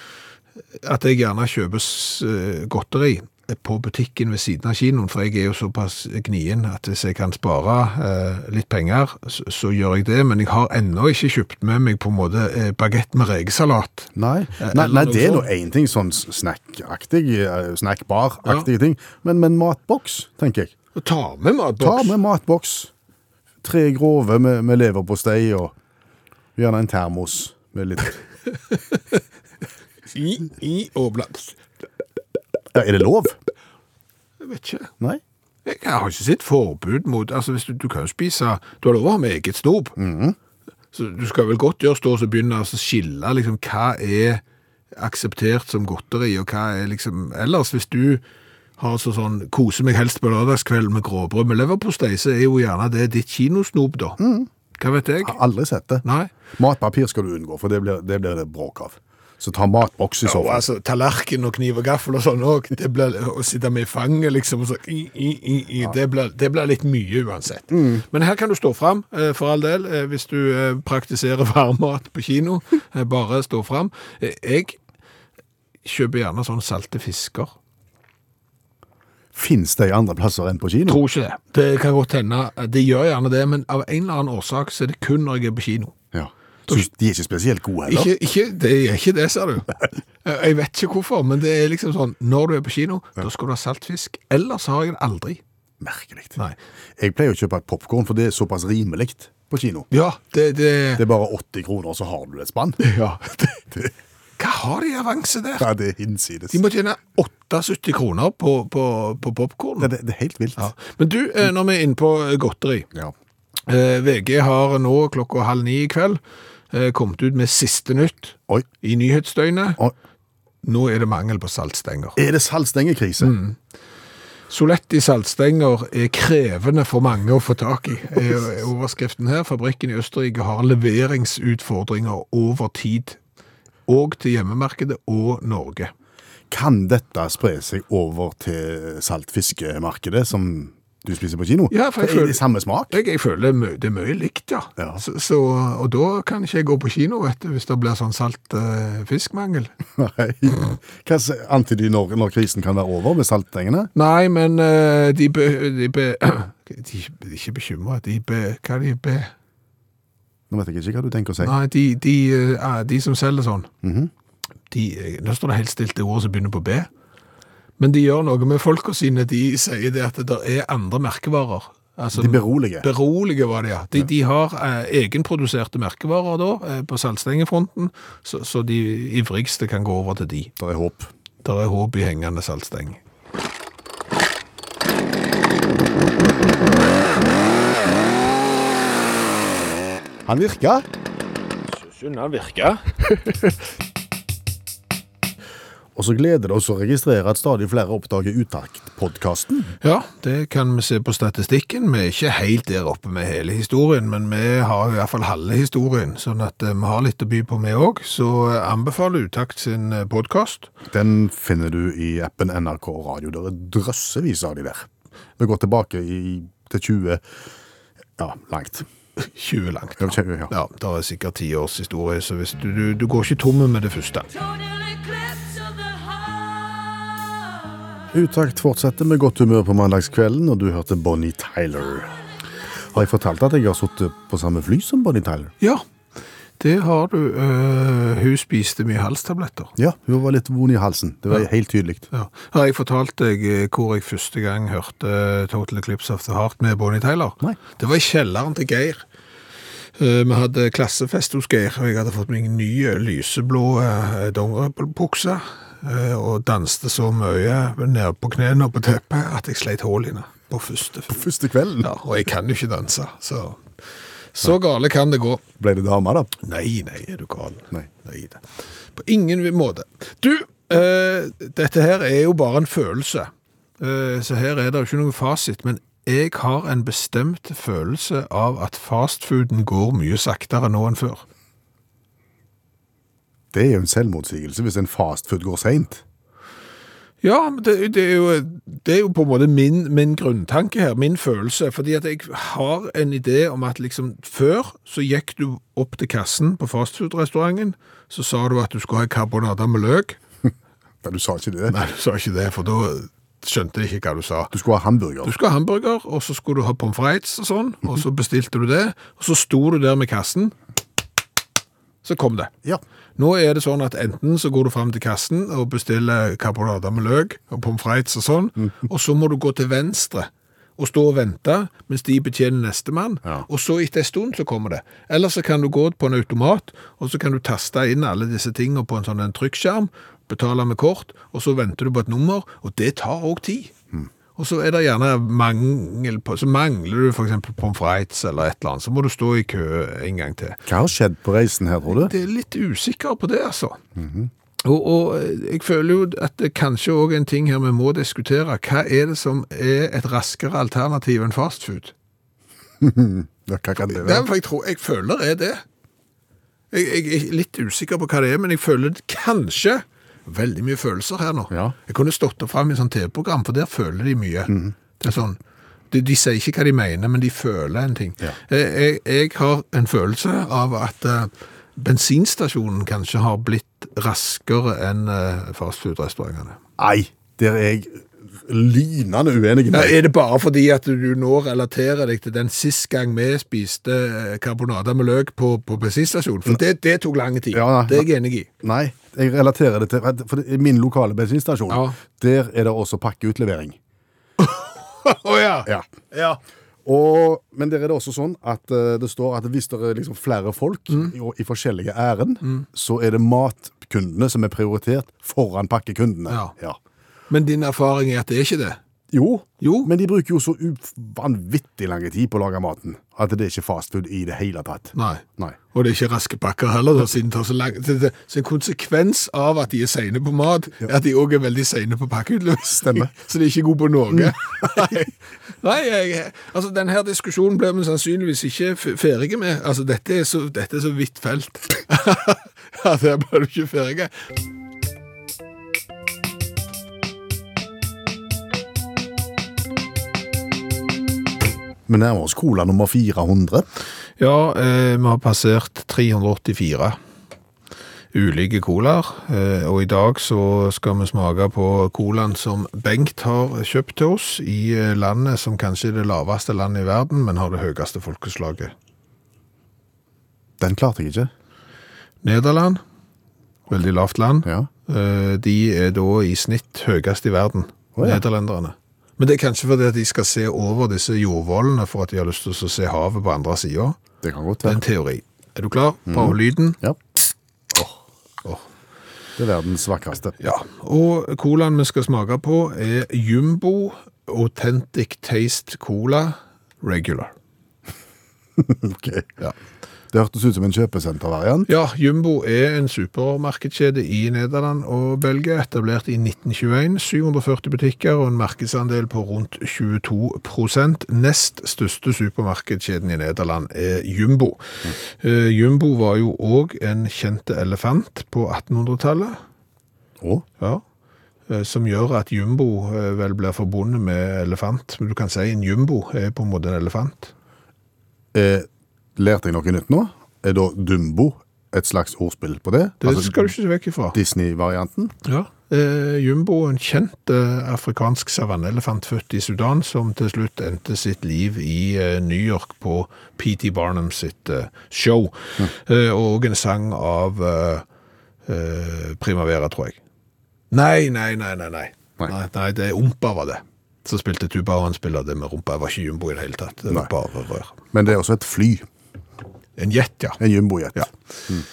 Speaker 3: at jeg gjerne kjøper s- eh, godteri på butikken ved siden av kinoen, for jeg er jo såpass gnien at hvis jeg kan spare eh, litt penger, så, så gjør jeg det, men jeg har ennå ikke kjøpt med meg på en måte eh, bagett med rekesalat.
Speaker 4: Nei, nei,
Speaker 3: Eh, eller
Speaker 4: nei,
Speaker 3: noe
Speaker 4: det er nå
Speaker 3: sånt.
Speaker 4: én ting, sånn snack-aktig, eh, snackbar-aktige ting, men, men matboks, tenker jeg.
Speaker 3: Og Ta med
Speaker 4: Ta
Speaker 3: matboks.
Speaker 4: med matboks. Tre grove med, med leverpostei og gjerne en termos med litt
Speaker 3: I, i Åbland.
Speaker 4: ja, Er det lov?
Speaker 3: Jeg vet ikke.
Speaker 4: Nei?
Speaker 3: Jeg har ikke sitt forbud mot, altså hvis du, du kan jo spise, du har lov å ha med eget snop. Så du skal vel godt gjøre stå og så begynne å altså, skille liksom, hva er akseptert som godteri, og hva er liksom, ellers hvis du har så sånn, kose meg helst på lørdagskveld med gråbrød med leverpostei, så er jo gjerne det ditt kinosnop da. Hva vet jeg?
Speaker 4: Har aldri sett det.
Speaker 3: Nei.
Speaker 4: Matpapir skal du unngå, for det blir det, blir det bråk av. Så ta matboks i
Speaker 3: Ja, og
Speaker 4: sofaen.
Speaker 3: altså, tallerken og kniv og gaffel og sånn òg. Det blir å sitte med i fanget, liksom. og Så, i, i, i, i, det, blir, det blir litt mye uansett. Men her kan du stå fram, eh, for all del, eh, hvis du eh, praktiserer <laughs> varmmat på kino. eh, Bare stå fram. Eh, Jeg kjøper gjerne sånn salte fisker.
Speaker 4: Fins det i andre plasser enn på kino?
Speaker 3: Tror ikke det. Det kan godt hende. eh, Det gjør gjerne det, men av en eller annen årsak så er det kun når jeg er på kino.
Speaker 4: Ja. Synes de er ikke spesielt gode heller?
Speaker 3: Ikke, ikke, det er ikke det,
Speaker 4: <laughs>
Speaker 3: sa du. Jeg vet ikke hvorfor, men det er liksom sånn Når du er på kino, da skal du ha saltfisk. Ellers har jeg det aldri.
Speaker 4: Merkelig.
Speaker 3: Nei.
Speaker 4: Jeg pleier å kjøpe et popkorn, for det er såpass rimelig på kino.
Speaker 3: Ja, det, det,
Speaker 4: Det er bare 80 kroner, så har du et
Speaker 3: <laughs>
Speaker 4: spann.
Speaker 3: ja, det, det. Hva har de i avanse der?
Speaker 4: Ja, det er hinsides.
Speaker 3: De må tjene 78 kroner på, på, på popkorn.
Speaker 4: Det, det, det er helt vilt.
Speaker 3: Ja. Men du, eh, når vi er inne på eh, godteri
Speaker 4: Ja.
Speaker 3: eh, VG har nå klokka halv ni i kveld eh, kommet ut med siste nytt
Speaker 4: Oi.
Speaker 3: i nyhetsdøgnet.
Speaker 4: Oi.
Speaker 3: Nå er det mangel på saltstenger.
Speaker 4: Er det saltstengekrise?
Speaker 3: Mm. Soletti saltstenger er krevende for mange å få tak i. er Overskriften her, fabrikken i Østerrike har leveringsutfordringer over tid. Og til hjemmemarkedet og Norge.
Speaker 4: Kan dette spre seg over til saltfiskemarkedet, som du spiser på kino?
Speaker 3: Ja, for jeg
Speaker 4: er
Speaker 3: føler-
Speaker 4: det samme smak?
Speaker 3: Jeg, jeg føler mø- det er mye likt, ja.
Speaker 4: Ja.
Speaker 3: Så, så, og da kan ikke jeg gå på kino, vet du, hvis det blir sånn saltfiskmangel.
Speaker 4: Nei. Hva s- antyder de når, når krisen kan være over med saltstengene?
Speaker 3: Nei, men eh, de be... De be <clears throat> de, de er ikke bekymra, de be... Hva er de be...
Speaker 4: Nå vet jeg ikke hva du tenker å si.
Speaker 3: Nei, de, de, eh, de som selger sånn, de, eh, nå står det helt stilt det ordet som begynner på B, men de gjør noe med folka sine. De sier det at det er andre merkevarer. Altså,
Speaker 4: De beroliger.
Speaker 3: Beroliger var det, ja. De, de har eh, egenproduserte merkevarer da, eh, på saltstengefronten, så, så de ivrigste kan gå over til de.
Speaker 4: Det er håp.
Speaker 3: Der er håp i hengende saltsteng.
Speaker 4: Han virka.
Speaker 10: Synd han virka.
Speaker 4: <laughs> Og så gleder det oss å registrere at stadig flere oppdager Utakt-podkasten.
Speaker 3: Ja, det kan vi se på statistikken. Vi er ikke helt der oppe med hele historien, men vi har i hvert fall halve historien, sånn at eh, vi har litt å by på vi òg. Så eh, anbefaler Utakt sin eh, podkast.
Speaker 4: Den finner du i appen NRK Radio. Det er drøssevis av de der. Vi går tilbake i, til 20 Ja, langt.
Speaker 3: 20 langt.
Speaker 4: Ja, 20, ja.
Speaker 3: Ja, det er sikkert ti års historie, så hvis du, du, du går ikke tomme med det første.
Speaker 4: Utakt fortsetter med godt humør på mandagskvelden, og du hørte Bonnie Tyler. Har jeg fortalt at jeg har sittet på samme fly som Bonnie Tyler?
Speaker 3: Ja, det har du. Eh, hun spiste mye halstabletter.
Speaker 4: Ja, hun var litt vond i halsen. Det var helt tydelig.
Speaker 3: Ja. Har jeg fortalt deg eh, hvor jeg første gang hørte eh, Total Eclipse of the Heart med Bonnie Tyler?
Speaker 4: Nei.
Speaker 3: Det var i kjelleren til Geir. Eh, Vi hadde klassefest hos Geir, og jeg hadde fått meg en ny eh, lyseblå eh, dongeribukse. eh, Og danste så mye nede på knærne og på teppet at jeg sleit hull i henne på første
Speaker 4: Første kvelden
Speaker 3: <laughs> Ja, og jeg kan jo ikke danse, så Så gale kan det gå.
Speaker 4: ble det dame, da.
Speaker 3: Nei, nei, er du gal?
Speaker 4: Nei.
Speaker 3: da. På ingen måte. Du, eh, dette her er jo bare en følelse, eh, så her er det jo ikke noe fasit, men jeg har en bestemt følelse av at fastfooden går mye saktere nå enn før.
Speaker 4: Det er jo en selvmotsigelse hvis en fastfood går seint.
Speaker 3: Ja, men det, det, er jo, det er jo på en måte min, min grunntanke her, min følelse. Fordi at jeg har en idé om at liksom før så gikk du opp til kassen på fastfood-restauranten, så sa du at du skulle ha karbonader med løk.
Speaker 4: Du sa ikke det.
Speaker 3: Nei, du sa ikke det, for da skjønte de ikke hva du sa.
Speaker 4: Du skulle ha hamburger.
Speaker 3: Du skulle ha hamburger, og så skulle du ha pommes frites og sånn, og så bestilte du det, og så sto du der med kassen, så kom det.
Speaker 4: Ja.
Speaker 3: Nå er det sånn at enten så går du frem til kassen og bestiller karbonader med løk og pommes frites og sånn, og så må du gå til venstre og stå og vente mens de betjener neste mann, og så etter en stund så kommer det. Eller så kan du gå på en automat, og så kan du taste inn alle disse tingene på en sånn en trykkskjerm, betale med kort, og så venter du på et nummer, og det tar også tid. Og så er det gjerne mangel på, så mangler du for eksempel pommes frites eller et eller annet, så må du stå i kø en gang til.
Speaker 4: Hva har skjedd på reisen her, tror du?
Speaker 3: Det er litt usikker på det, altså. og, og eh, jeg føler jo at det kanskje òg er en ting her vi må diskutere. Hva er det som er et raskere alternativ enn fastfood?
Speaker 4: Ja, hva kan det
Speaker 3: Ja,
Speaker 4: være?
Speaker 3: for jeg, tror, jeg føler det er det. Jeg, jeg er litt usikker på hva det er, men jeg føler det kanskje Veldig mye følelser her nå.
Speaker 4: Ja.
Speaker 3: Jeg kunne stått det fram i et sånt TV-program, for der føler de mye.
Speaker 4: Mhm.
Speaker 3: Det er sånn, de, de sier ikke hva de mener, men de føler en ting.
Speaker 4: Ja.
Speaker 3: Jeg, jeg, jeg har en følelse av at eh, bensinstasjonen kanskje har blitt raskere enn uh, fastfood-restaurantene.
Speaker 4: Nei, der er jeg lynende uenig
Speaker 3: Ja,
Speaker 4: med deg.
Speaker 3: er det bare fordi at du nå relaterer deg til den sist gang vi spiste eh, karbonader med løk på, på bensinstasjonen? For det, det tok lang tid.
Speaker 4: Ja, nei.
Speaker 3: det er jeg enig i.
Speaker 4: Nei, jeg relaterer det til For det er min lokale bensinstasjon,
Speaker 3: Ja.
Speaker 4: der er det også pakkeutlevering.
Speaker 3: Å ja.
Speaker 4: Ja.
Speaker 3: Ja.
Speaker 4: Og, men der er det også sånn at eh, det står at hvis det er liksom flere folk
Speaker 3: Mm.
Speaker 4: i, og i forskjellige ærend, så er det matkundene som er prioritert foran pakkekundene.
Speaker 3: Ja. Men din erfaring er at det er ikke det?
Speaker 4: Jo,
Speaker 3: Jo.
Speaker 4: men de bruker jo så u- vanvittig lang tid på å lage maten at det er ikke fastfood i det hele tatt.
Speaker 3: Nei.
Speaker 4: Nei.
Speaker 3: Og det er ikke raske pakker heller, da, siden det tar så lang det- det- Så en konsekvens av at de er seine på mat, er at de òg er veldig seine på pakkeutløsning.
Speaker 4: Stemmer.
Speaker 3: <laughs> Så de er ikke gode på noe. <laughs> Nei, Nei jeg, altså denne diskusjonen blir vi sannsynligvis ikke f- ferdige med. Altså, dette er så, dette er så vidt felt. <laughs> ja, der blir du ikke ferdig.
Speaker 4: Vi nærmer oss cola nummer 400.
Speaker 3: Ja, eh, vi har passert 384 ulike colaer, eh, og i dag så skal vi smake på colaen som Bengt har kjøpt til oss i eh, landet som kanskje er det laveste landet i verden, men har det høyeste folkeslaget.
Speaker 4: Den klarte jeg ikke.
Speaker 3: Nederland, veldig lavt land,
Speaker 4: Ja.
Speaker 3: eh, de er da i snitt høyest i verden,
Speaker 4: Å ja.
Speaker 3: nederlenderne. Men det er kanskje fordi at de skal se over disse jordvollene for at de har lyst til å se havet på andre siden.
Speaker 4: Det kan godt
Speaker 3: Det er
Speaker 4: være.
Speaker 3: en teori. Er du klar? Prøv
Speaker 4: Mhm.
Speaker 3: lyden.
Speaker 4: Ja.
Speaker 3: Åh.
Speaker 4: Det er verdens vakreste.
Speaker 3: Ja, og colaen vi skal smake på er Jumbo Authentic Taste Cola Regular.
Speaker 4: Ok.
Speaker 3: Ja.
Speaker 4: Det hørtes ut som en kjøpesentervariant.
Speaker 3: Ja, Jumbo er en supermarkedskjede i Nederland og Belgia, etablert i 1921. 740 butikker og en markedsandel på rundt 22 Nest største supermarkedskjeden i Nederland er Jumbo. Eh, Jumbo var jo òg en kjent elefant på 1800-tallet.
Speaker 4: Å?
Speaker 3: Ja. Eh, Som gjør at jumbo eh, vel blir forbundet med elefant. Men du kan si en jumbo er på en måte en elefant.
Speaker 4: Eh, lærte jeg noe nytt nå? Er da Dumbo et slags ordspill på det? Altså
Speaker 3: Det skal du ikke se vekk ifra.
Speaker 4: Disney-varianten?
Speaker 3: Ja. Eh, Jumbo, en kjent eh, afrikansk savanneelefant født i Sudan, som til slutt endte sitt liv i eh, New York på P.T. Barnum sitt eh, show. Eh, og en sang av eh, eh, Primavera, tror jeg. Nei, nei, nei, nei. Nei,
Speaker 4: Nei.
Speaker 3: nei, nei det er Ompa var det. Så spilte tuba, og han spiller det med rumpa. Det var ikke Jumbo i det hele tatt. Det var
Speaker 4: Nei.
Speaker 3: bare rør.
Speaker 4: Men det er også et fly.
Speaker 3: En jet, ja.
Speaker 4: En jumbojet.
Speaker 3: Ja. Mm.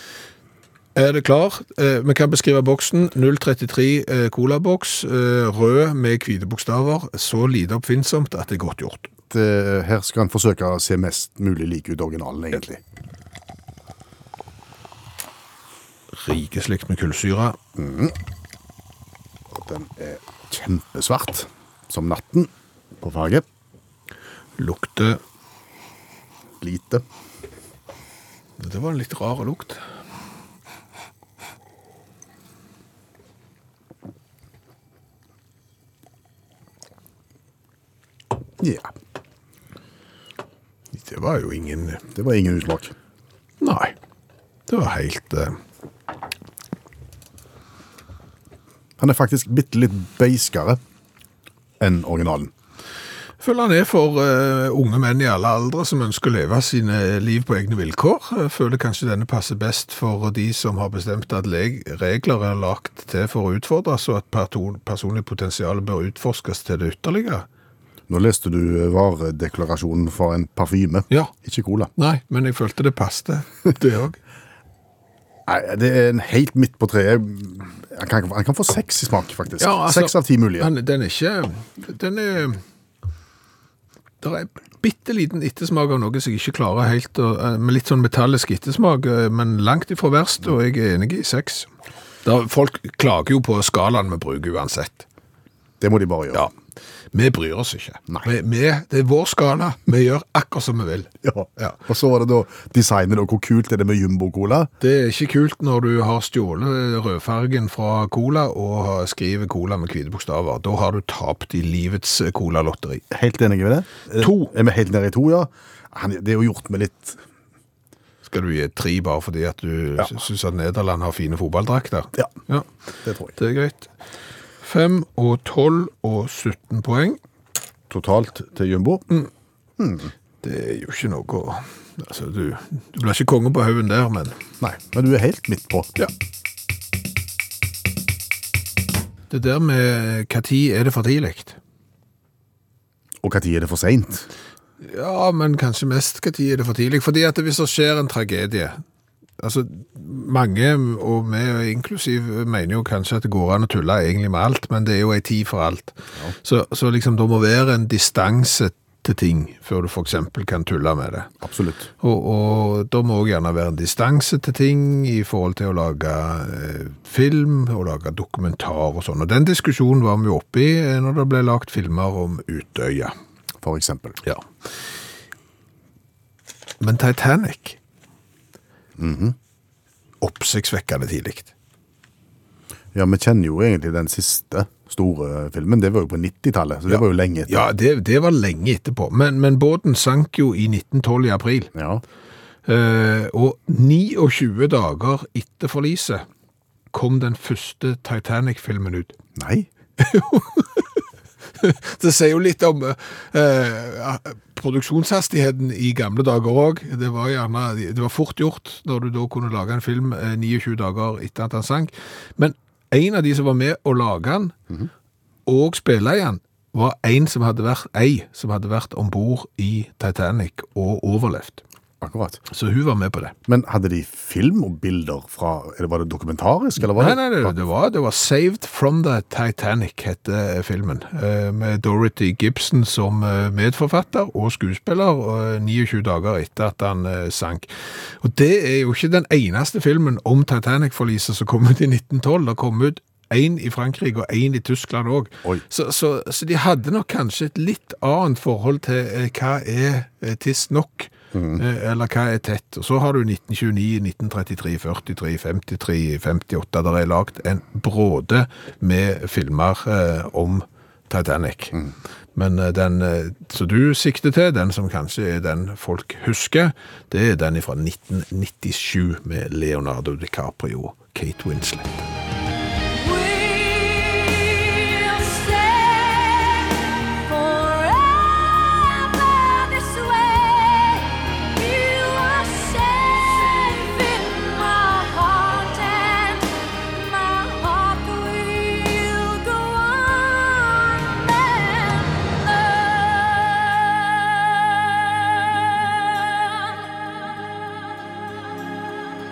Speaker 3: Er det klar? Eh, Vi kan beskrive boksen. 033 eh, colaboks, eh, rød med hvite bokstaver. Så lite oppfinnsomt at det er godt gjort.
Speaker 4: Eh, Her skal en forsøke å se mest mulig lik ut originalen, egentlig.
Speaker 3: Rikeslikt med kullsyre. Mm.
Speaker 4: Den er kjempesvart, som natten på farge.
Speaker 3: Lukter
Speaker 4: Lite.
Speaker 3: Det var en litt rar lukt.
Speaker 4: Ja,
Speaker 3: Det var jo ingen
Speaker 4: det var ingen usmak.
Speaker 3: Nei. Det var helt eh,
Speaker 4: Han er faktisk bitte litt beiskere enn originalen.
Speaker 3: Jeg føler han er for eh, unge menn i alle aldre som ønsker å leve sine liv på egne vilkår. Jeg føler kanskje denne passer best for de som har bestemt at leg- regler er lagt til for å utfordres, og at perto- personlig potensial bør utforskes til det ytterligere.
Speaker 4: Nå leste du varedeklarasjonen for en parfyme,
Speaker 3: Ja.
Speaker 4: ikke cola.
Speaker 3: Nei, men jeg følte det passte, <laughs> det òg.
Speaker 4: Nei, det er en helt midt på treet. Han kan, han kan få seks i smak, faktisk. seks av ti mulige.
Speaker 3: Den, den er ikke Den er Det er bitte liten ettersmak av noe som jeg ikke klarer helt å eh, med Litt sånn metallisk ettersmak, eh, men langt ifra verst, og jeg er enig i seks. Da- Folk klager jo på skalaen vi bruker uansett.
Speaker 4: Det må de bare gjøre.
Speaker 3: Ja. Vi bryr oss ikke.
Speaker 4: Nei.
Speaker 3: Vi, vi, det er vår skala. Vi gjør akkurat som vi vil.
Speaker 4: Ja.
Speaker 3: Ja.
Speaker 4: Og så var det da designet, og hvor kult er det med jumbo-cola?
Speaker 3: Det er ikke kult når du har stjålet eh, rødfargen fra cola og har- skriver cola med hvite bokstaver. Da har du tapt i livets eh, colalotteri.
Speaker 4: Helt enig med det. Eh,
Speaker 3: To.
Speaker 4: Er vi helt nede i to, ja? Han, det er jo gjort med litt
Speaker 3: Skal du gi tre bare fordi at du ja. syns at Nederland har fine fotballdrakter?
Speaker 4: Ja,
Speaker 3: Ja,
Speaker 4: det tror jeg.
Speaker 3: det er greit. 5 og 12 og 17 poeng.
Speaker 4: Totalt til jumbo.
Speaker 3: Det er jo ikke noe å Altså, du, du blir ikke konge på haugen der, men
Speaker 4: Nei, men du er helt midt på.
Speaker 3: Ja. Det der med når er det for tidlig?
Speaker 4: Og når er det for seint?
Speaker 3: Ja, men kanskje mest når er det for tidlig. Fordi at hvis det skjer en tragedie Altså, mange, og vi inklusiv, mener jo kanskje at det går an å tulle egentlig med alt, men det er jo ei tid for alt. Så, så liksom, det må være en distanse til ting før du f.eks. kan tulle med det.
Speaker 4: Absolutt.
Speaker 3: Og, og da må også gjerne være en distanse til ting i forhold til å lage eh, film og lage dokumentar og sånn. Og den diskusjonen var vi jo oppe i eh, når det ble lagt filmer om Utøya.
Speaker 4: For eksempel.
Speaker 3: Ja. Men Titanic Oppsiktsvekkende tidlig.
Speaker 4: Ja, vi kjenner jo egentlig den siste store filmen. Det var jo på 90-tallet, så det var jo lenge etter.
Speaker 3: Ja, det, det var lenge etterpå. Men, men båten sank jo i 1912 i april.
Speaker 4: Ja.
Speaker 3: Eh, og 29 dager etter forliset kom den første Titanic-filmen ut.
Speaker 4: Nei.
Speaker 3: Det sier jo litt om eh, eh, produksjonshastigheten i gamle dager òg. Det var gjerne, det var fort gjort når du da kunne lage en film eh, 29 dager etter at han sank. Men en av de som var med å lage den, og spille i den, var en som hadde vært, ei som hadde vært om bord i Titanic og overlevd.
Speaker 4: Akkurat.
Speaker 3: Så hun var med på det.
Speaker 4: Men hadde de film og bilder fra eller Var det dokumentarisk, eller var
Speaker 3: Nei,
Speaker 4: det
Speaker 3: nei, det, det, var, det var Saved from the Titanic, heter filmen. eh, Med Dorothy Gibson som eh, medforfatter og skuespiller og, eh, 29 dager etter at han eh, sank. Og det er jo ikke den eneste filmen om Titanic-forliset som kom ut i 1912. Det kom ut én i Frankrike og én i Tyskland òg.
Speaker 4: Oi.
Speaker 3: Så, så, så de hadde nok kanskje et litt annet forhold til eh, hva er eh, tiss nok, eh, eller hva er tett. Og så har du 1929, 1933, 43, 53, 58. Der er lagd en bråde med filmer eh, om Titanic. Men eh, den eh, som du sikter til, den som kanskje er den folk husker, det er den fra 1997 med Leonardo DiCaprio og Kate Winslet.
Speaker 10: We'll stay forever this way. You are safe in my heart, and my heart will go on and on.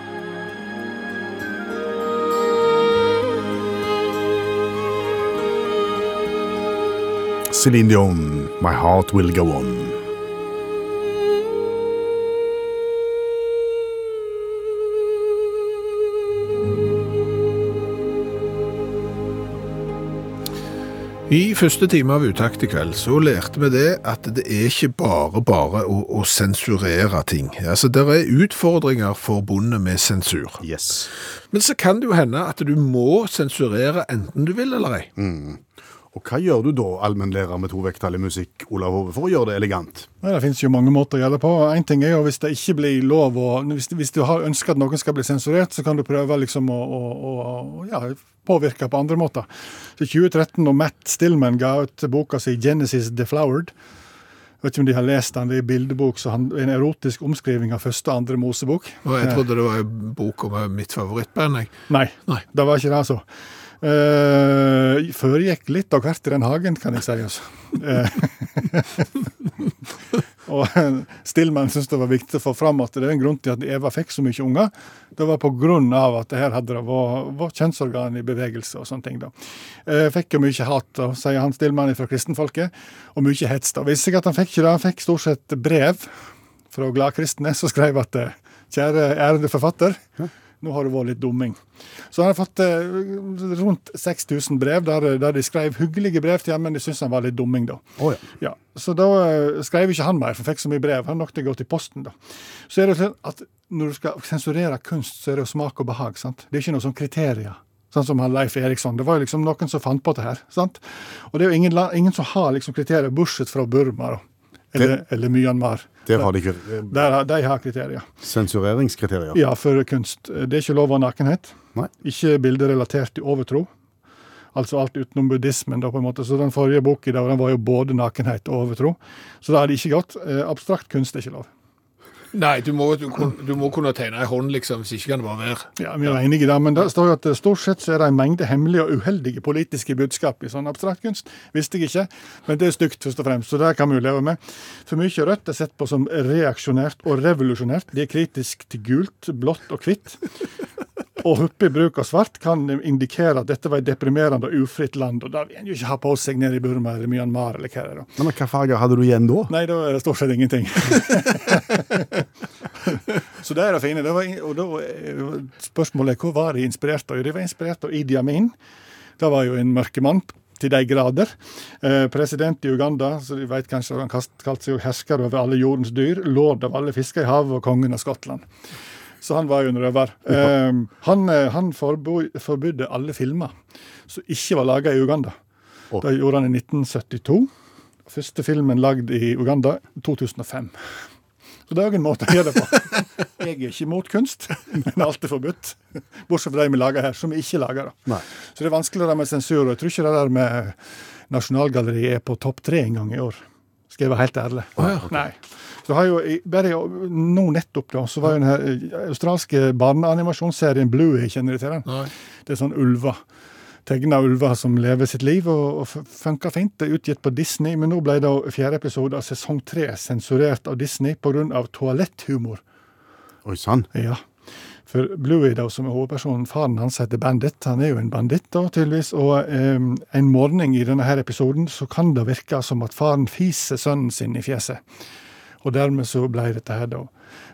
Speaker 4: Céline Dion, My Heart Will Go On.
Speaker 3: I første time av Utakt i kveld så lærte vi det at det er ikke bare bare å, å sensurere ting. Altså, Det er utfordringer forbundet med sensur.
Speaker 4: Yes.
Speaker 3: Men så kan det jo hende at du må sensurere enten du vil eller ei.
Speaker 4: Og hva gjør du da, allmennlærer med to vekttall i musikk, Olav Hove, for å gjøre det elegant?
Speaker 7: Nei, Det finnes jo mange måter å gjøre det på. En ting er jo hvis det ikke blir lov å Hvis, hvis du har ønska at noen skal bli sensurert, så kan du prøve liksom å, å, å ja, påvirke på andre måter. Så I 2013, når Matt Stillman ga ut boka si 'Genesis Deflowered', jeg vet ikke om de har lest den, det er en bildebok, så han, en erotisk omskriving av første og andre Mosebok.
Speaker 3: Og Jeg trodde det var en bok om eh, mitt favorittband. jeg.
Speaker 7: Nei,
Speaker 3: Nei.
Speaker 7: det var ikke det, altså. Uh, Foregikk litt av hvert i den hagen, kan jeg si. Altså. Eh, og <laughs> eh, Stillman syntes det var viktig å få fram at det er en grunn til at Eva fikk så mye unger. Det var pga. at det her hadde det vært vært kjønnsorgan i bevegelse og sånne ting. da. Eh, fikk jo mye hat, da, sier han Stillman fra kristenfolket, og mye hets. da. Visste jeg at han fikk ikke det, han fikk stort sett brev fra gladkristne som skrev at eh, kjære ærede forfatter, nå har det vært litt dumming. Så han har fått eh, rundt 6000 brev der, der de skrev hyggelige brev til ham, men de syntes han var litt dumming, da.
Speaker 4: Å, ja.
Speaker 7: Ja, Så da eh, skrev ikke han mer, for han fikk så mye brev. Han nådde å gå til posten, da. Så er det jo sånn at når du skal sensurere kunst, så er det jo smak og behag. sant? Det er ikke noe sånn kriterier. Sånn som han Leif Eriksson. Det var jo liksom noen som fant på det her. sant? Og det er jo ingen, la- ingen som har liksom kriterier, bortsett fra Burma, da. Eller, eller Myanmar.
Speaker 4: Der har de ikke eh,
Speaker 7: Der, har- de har kriterier.
Speaker 4: sensureringskriterier.
Speaker 7: Ja, for kunst. Det er ikke lov av nakenhet.
Speaker 4: Nei.
Speaker 7: Ikke bilder relatert til overtro. Altså alt utenom buddhismen, da, på en måte. Så den forrige boka der, den var jo både nakenhet og overtro. Så det hadde ikke gått. Eh, Abstrakt kunst er ikke lov.
Speaker 3: Nei, du må, du, kun- du må kunne tegne ei hånd, liksom, hvis ikke kan det bare være.
Speaker 7: Ja, Vi er enige der, men det står jo at eh, stort sett så er det en mengde hemmelige og uheldige politiske budskap i sånn abstrakt kunst. Visste jeg ikke, men det er stygt, først og fremst, så det kan vi jo leve med. For mye rødt er sett på som reaksjonært og revolusjonært. De er kritisk til gult, blått og hvitt. Og hyppig bruk av svart kan indikere at dette var et deprimerende og ufritt land, og det vil en jo ikke ha på seg nede i Burma eller Myanmar eller hva det er. da.
Speaker 4: Men hva farger hadde du igjen da?
Speaker 7: Nei, da er det stort sett ingenting. <laughs> så det er det fine. Det var, og da, eh, spørsmålet er hvor var de inspirert av? Jo, De var inspirert av Idi Amin. Det var jo en mørkemann til de grader. Eh, president i Uganda, så de vet kanskje han kast- kalte seg jo hersker over alle jordens dyr. Lord av alle fisker i havet og kongen av Skottland. Så han var jo en røver. Eh, han eh, han forbo, forbudde alle filmer som ikke var laga i Uganda.
Speaker 4: Å.
Speaker 7: Det gjorde han i 1972. Første filmen lagd i Uganda 2005. Så det er òg en måte å
Speaker 4: <laughs>
Speaker 7: gjøre det på. Jeg er ikke imot kunst, men alt er forbudt. Bortsett fra de vi lager her, som vi ikke lager. da.
Speaker 4: Nei.
Speaker 7: Så det er vanskeligere med sensur. og Jeg tror ikke det der med Nasjonalgalleriet er på topp tre en gang i år. Skal jeg være helt ærlig. Nei. Så har jo, i- bare i- nå nettopp, da, så var jo den her eh, australske barneanimasjonsserien Bluey, kjenner du til den? Det er sånn ulver. tegna ulver som lever sitt liv, og, og f- funka fint. Det er utgitt på Disney, men nå ble da fjerde episode av sesong tre sensurert av Disney pga. toaletthumor.
Speaker 4: Oi sann.
Speaker 7: Ja. For Bluey, da, som er hovedpersonen, faren hans heter Bandit. Han er jo en banditt, da, tydeligvis. Og eh, en morgen i denne her episoden så kan det virke som at faren fiser sønnen sin i fjeset. Og dermed så ble dette her da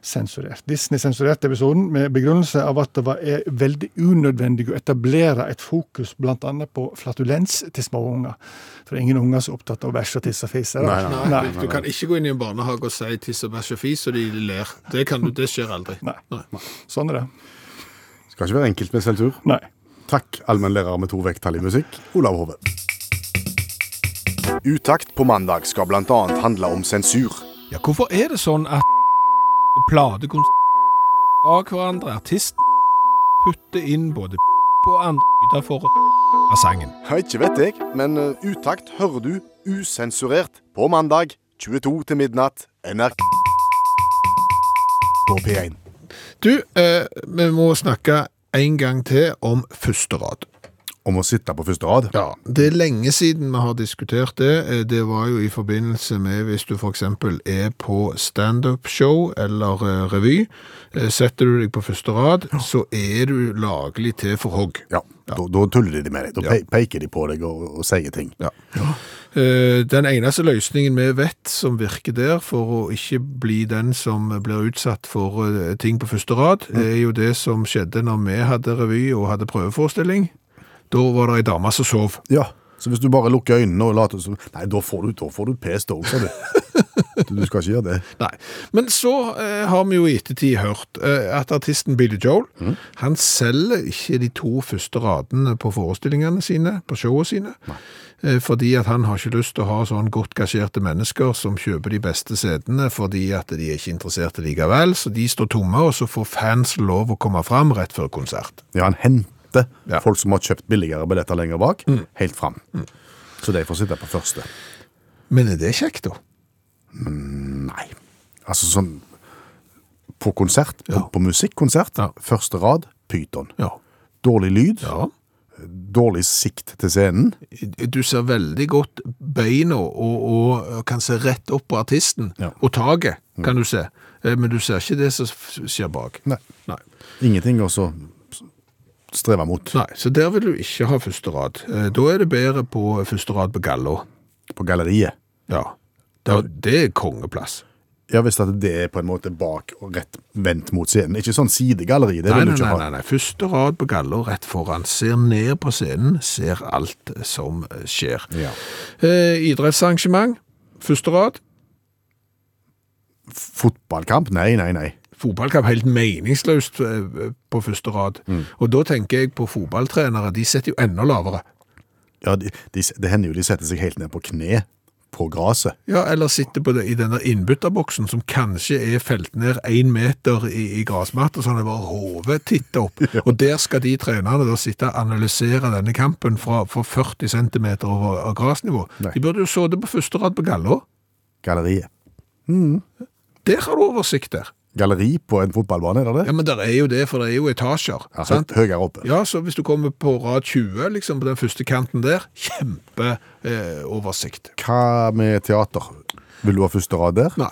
Speaker 7: sensurert. Disney sensurerte episoden med begrunnelse av at det var er veldig unødvendig å etablere et fokus bl.a. på flatulens til små unger. For ingen unger som er opptatt av å bæsje og tisse og fise. da.
Speaker 4: Nei,
Speaker 3: Nei, du kan ikke gå inn i en barnehage og si tiss og bæsj og fis, og de ler. Det, kan du, det skjer aldri.
Speaker 7: Nei. Sånn er det.
Speaker 4: Skal ikke være enkelt med selvtur.
Speaker 7: Nei.
Speaker 4: Takk, allmennlærer med to vekttall i musikk, Olav Hove. Utakt på mandag skal bl.a. handle om sensur.
Speaker 3: Ja, hvorfor er det sånn at platekunst av hverandre, artist putter inn både på andre yder for av sangen?
Speaker 4: Ja, ikke vet jeg, men eh, Utakt hører du usensurert på mandag 22 til midnatt NRK på P1.
Speaker 3: Du, eh, vi må snakke en gang til om første rad.
Speaker 4: Om å sitte på første rad.
Speaker 3: Ja, det er lenge siden vi har diskutert det. Eh, Det var jo i forbindelse med hvis du f.eks. er på standup-show eller eh, revy. Eh, Setter du deg på første rad, så er du laglig til for hogg.
Speaker 4: Ja, Da, da tuller de med deg. Da
Speaker 3: Ja.
Speaker 4: pe peker de på deg og, og sier ting.
Speaker 3: Ja. Eh, Den eneste løsningen vi vet som virker der for å ikke bli den som blir utsatt for eh, ting på første rad, er jo det som skjedde når vi hadde revy og hadde prøveforestilling. Da var det ei dame som sov.
Speaker 4: Ja, Så hvis du bare lukker øynene og later som Nei, da får du, da får du pest òg, sa du. Du du skal ikke gjøre det.
Speaker 3: Nei. Men så eh, har vi jo i ettertid hørt eh, at artisten Billy Joel han selger ikke de to første radene på forestillingene sine, på showene sine, eh, fordi at han har ikke lyst til å ha sånn godt gasjerte mennesker som kjøper de beste setene fordi at de er ikke interesserte likevel, så de står tomme, og så får fans lov å komme fram rett før konsert.
Speaker 4: Ja, han henter
Speaker 3: Ja. Mm.
Speaker 4: folk som har kjøpt billigere billetter lenger bak, helt fram. Så de får sitte på første.
Speaker 3: Men er det kjekt, da?
Speaker 4: Nei. Altså sånn På konsert, på,
Speaker 3: Ja.
Speaker 4: på musikkonsert,
Speaker 3: Ja.
Speaker 4: første rad, pyton.
Speaker 3: Ja.
Speaker 4: Dårlig lyd,
Speaker 3: ja.
Speaker 4: dårlig sikt til scenen.
Speaker 3: Du ser veldig godt beina og, og kan se rett opp på artisten.
Speaker 4: Ja. Mm.
Speaker 3: Og taket kan du se. Eh, Men du ser ikke det som f- skjer bak.
Speaker 4: Nei.
Speaker 3: Nei.
Speaker 4: Ingenting å så streve mot
Speaker 3: Nei, Så der vil du ikke ha første rad. Eh, Da er det bedre på første rad på Gallå.
Speaker 4: på galleriet.
Speaker 3: Ja. Da, det er kongeplass.
Speaker 4: Ja visst at det er på en måte bak og rett vendt mot scenen. Ikke sånn sidegalleri, det
Speaker 3: Nei,
Speaker 4: vil
Speaker 3: nei,
Speaker 4: du ikke
Speaker 3: nei,
Speaker 4: ha.
Speaker 3: nei, nei. Første rad på Gallå rett foran. Ser ned på scenen, ser alt som eh, skjer.
Speaker 4: Ja.
Speaker 3: Eh, idrettsarrangement, første rad.
Speaker 4: Fotballkamp? Nei, nei, nei.
Speaker 3: fotballkamp helt meningsløst eh, på første rad.
Speaker 4: Mm.
Speaker 3: Og da tenker jeg på fotballtrenere, de setter jo enda lavere.
Speaker 4: Ja, de, de, det hender jo de setter seg helt ned på kne på graset.
Speaker 3: Ja, eller sitter på det, i denne innbytterboksen som kanskje er felt ned én meter i, i grasmatta, sånn at det bare hodet titter opp. Og der skal de trenerne da sitte og analysere denne kampen fra, fra 40 cm over av grasnivå.
Speaker 4: Nei.
Speaker 3: De burde jo så det på første rad på Gallå.
Speaker 4: Galleriet.
Speaker 3: Der har du oversikt der.
Speaker 4: Galleri på en fotballbane, er det det?
Speaker 3: Ja, men der er jo det, for det er jo etasjer.
Speaker 4: Ja,
Speaker 3: sant?
Speaker 4: hø- høyere oppe.
Speaker 3: Ja, så hvis du kommer på rad 20, liksom på den første kanten der, kjempe eh, oversikt.
Speaker 4: Hva med teater? Vil du ha første rad der?
Speaker 3: Nei,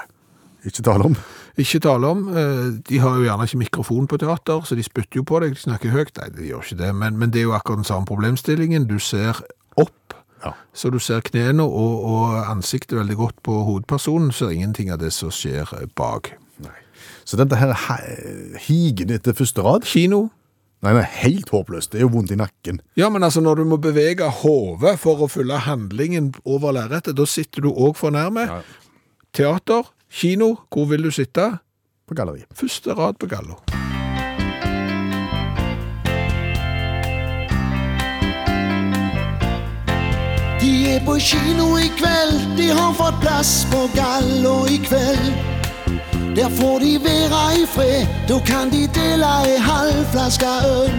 Speaker 4: Ikke tale om.
Speaker 3: ikke tale om. Eh, de har jo gjerne ikke mikrofon på teater, så de spytter jo på deg, de snakker høyt. Nei, de gjør ikke det, men, men det er jo akkurat den samme problemstillingen. Du ser opp,
Speaker 4: Ja.
Speaker 3: så du ser knene og, og ansiktet veldig godt på hovedpersonen, så er ingenting av det som skjer eh, bak.
Speaker 4: Så dette her he- higen etter første rad
Speaker 3: Kino.
Speaker 4: Nei, nei, helt håpløst. Det er jo vondt i nakken.
Speaker 3: Ja, men altså når du må bevege hodet for å fylle handlingen over lerretet, da sitter du òg for nærme. Teater, kino, hvor vil du sitte?
Speaker 4: På galleri.
Speaker 3: Første rad på Gallo.
Speaker 11: De er på kino i kveld, de har fått plass på Gallo i kveld. Der får de være i fred, da kan de dele ei halv flaske øl.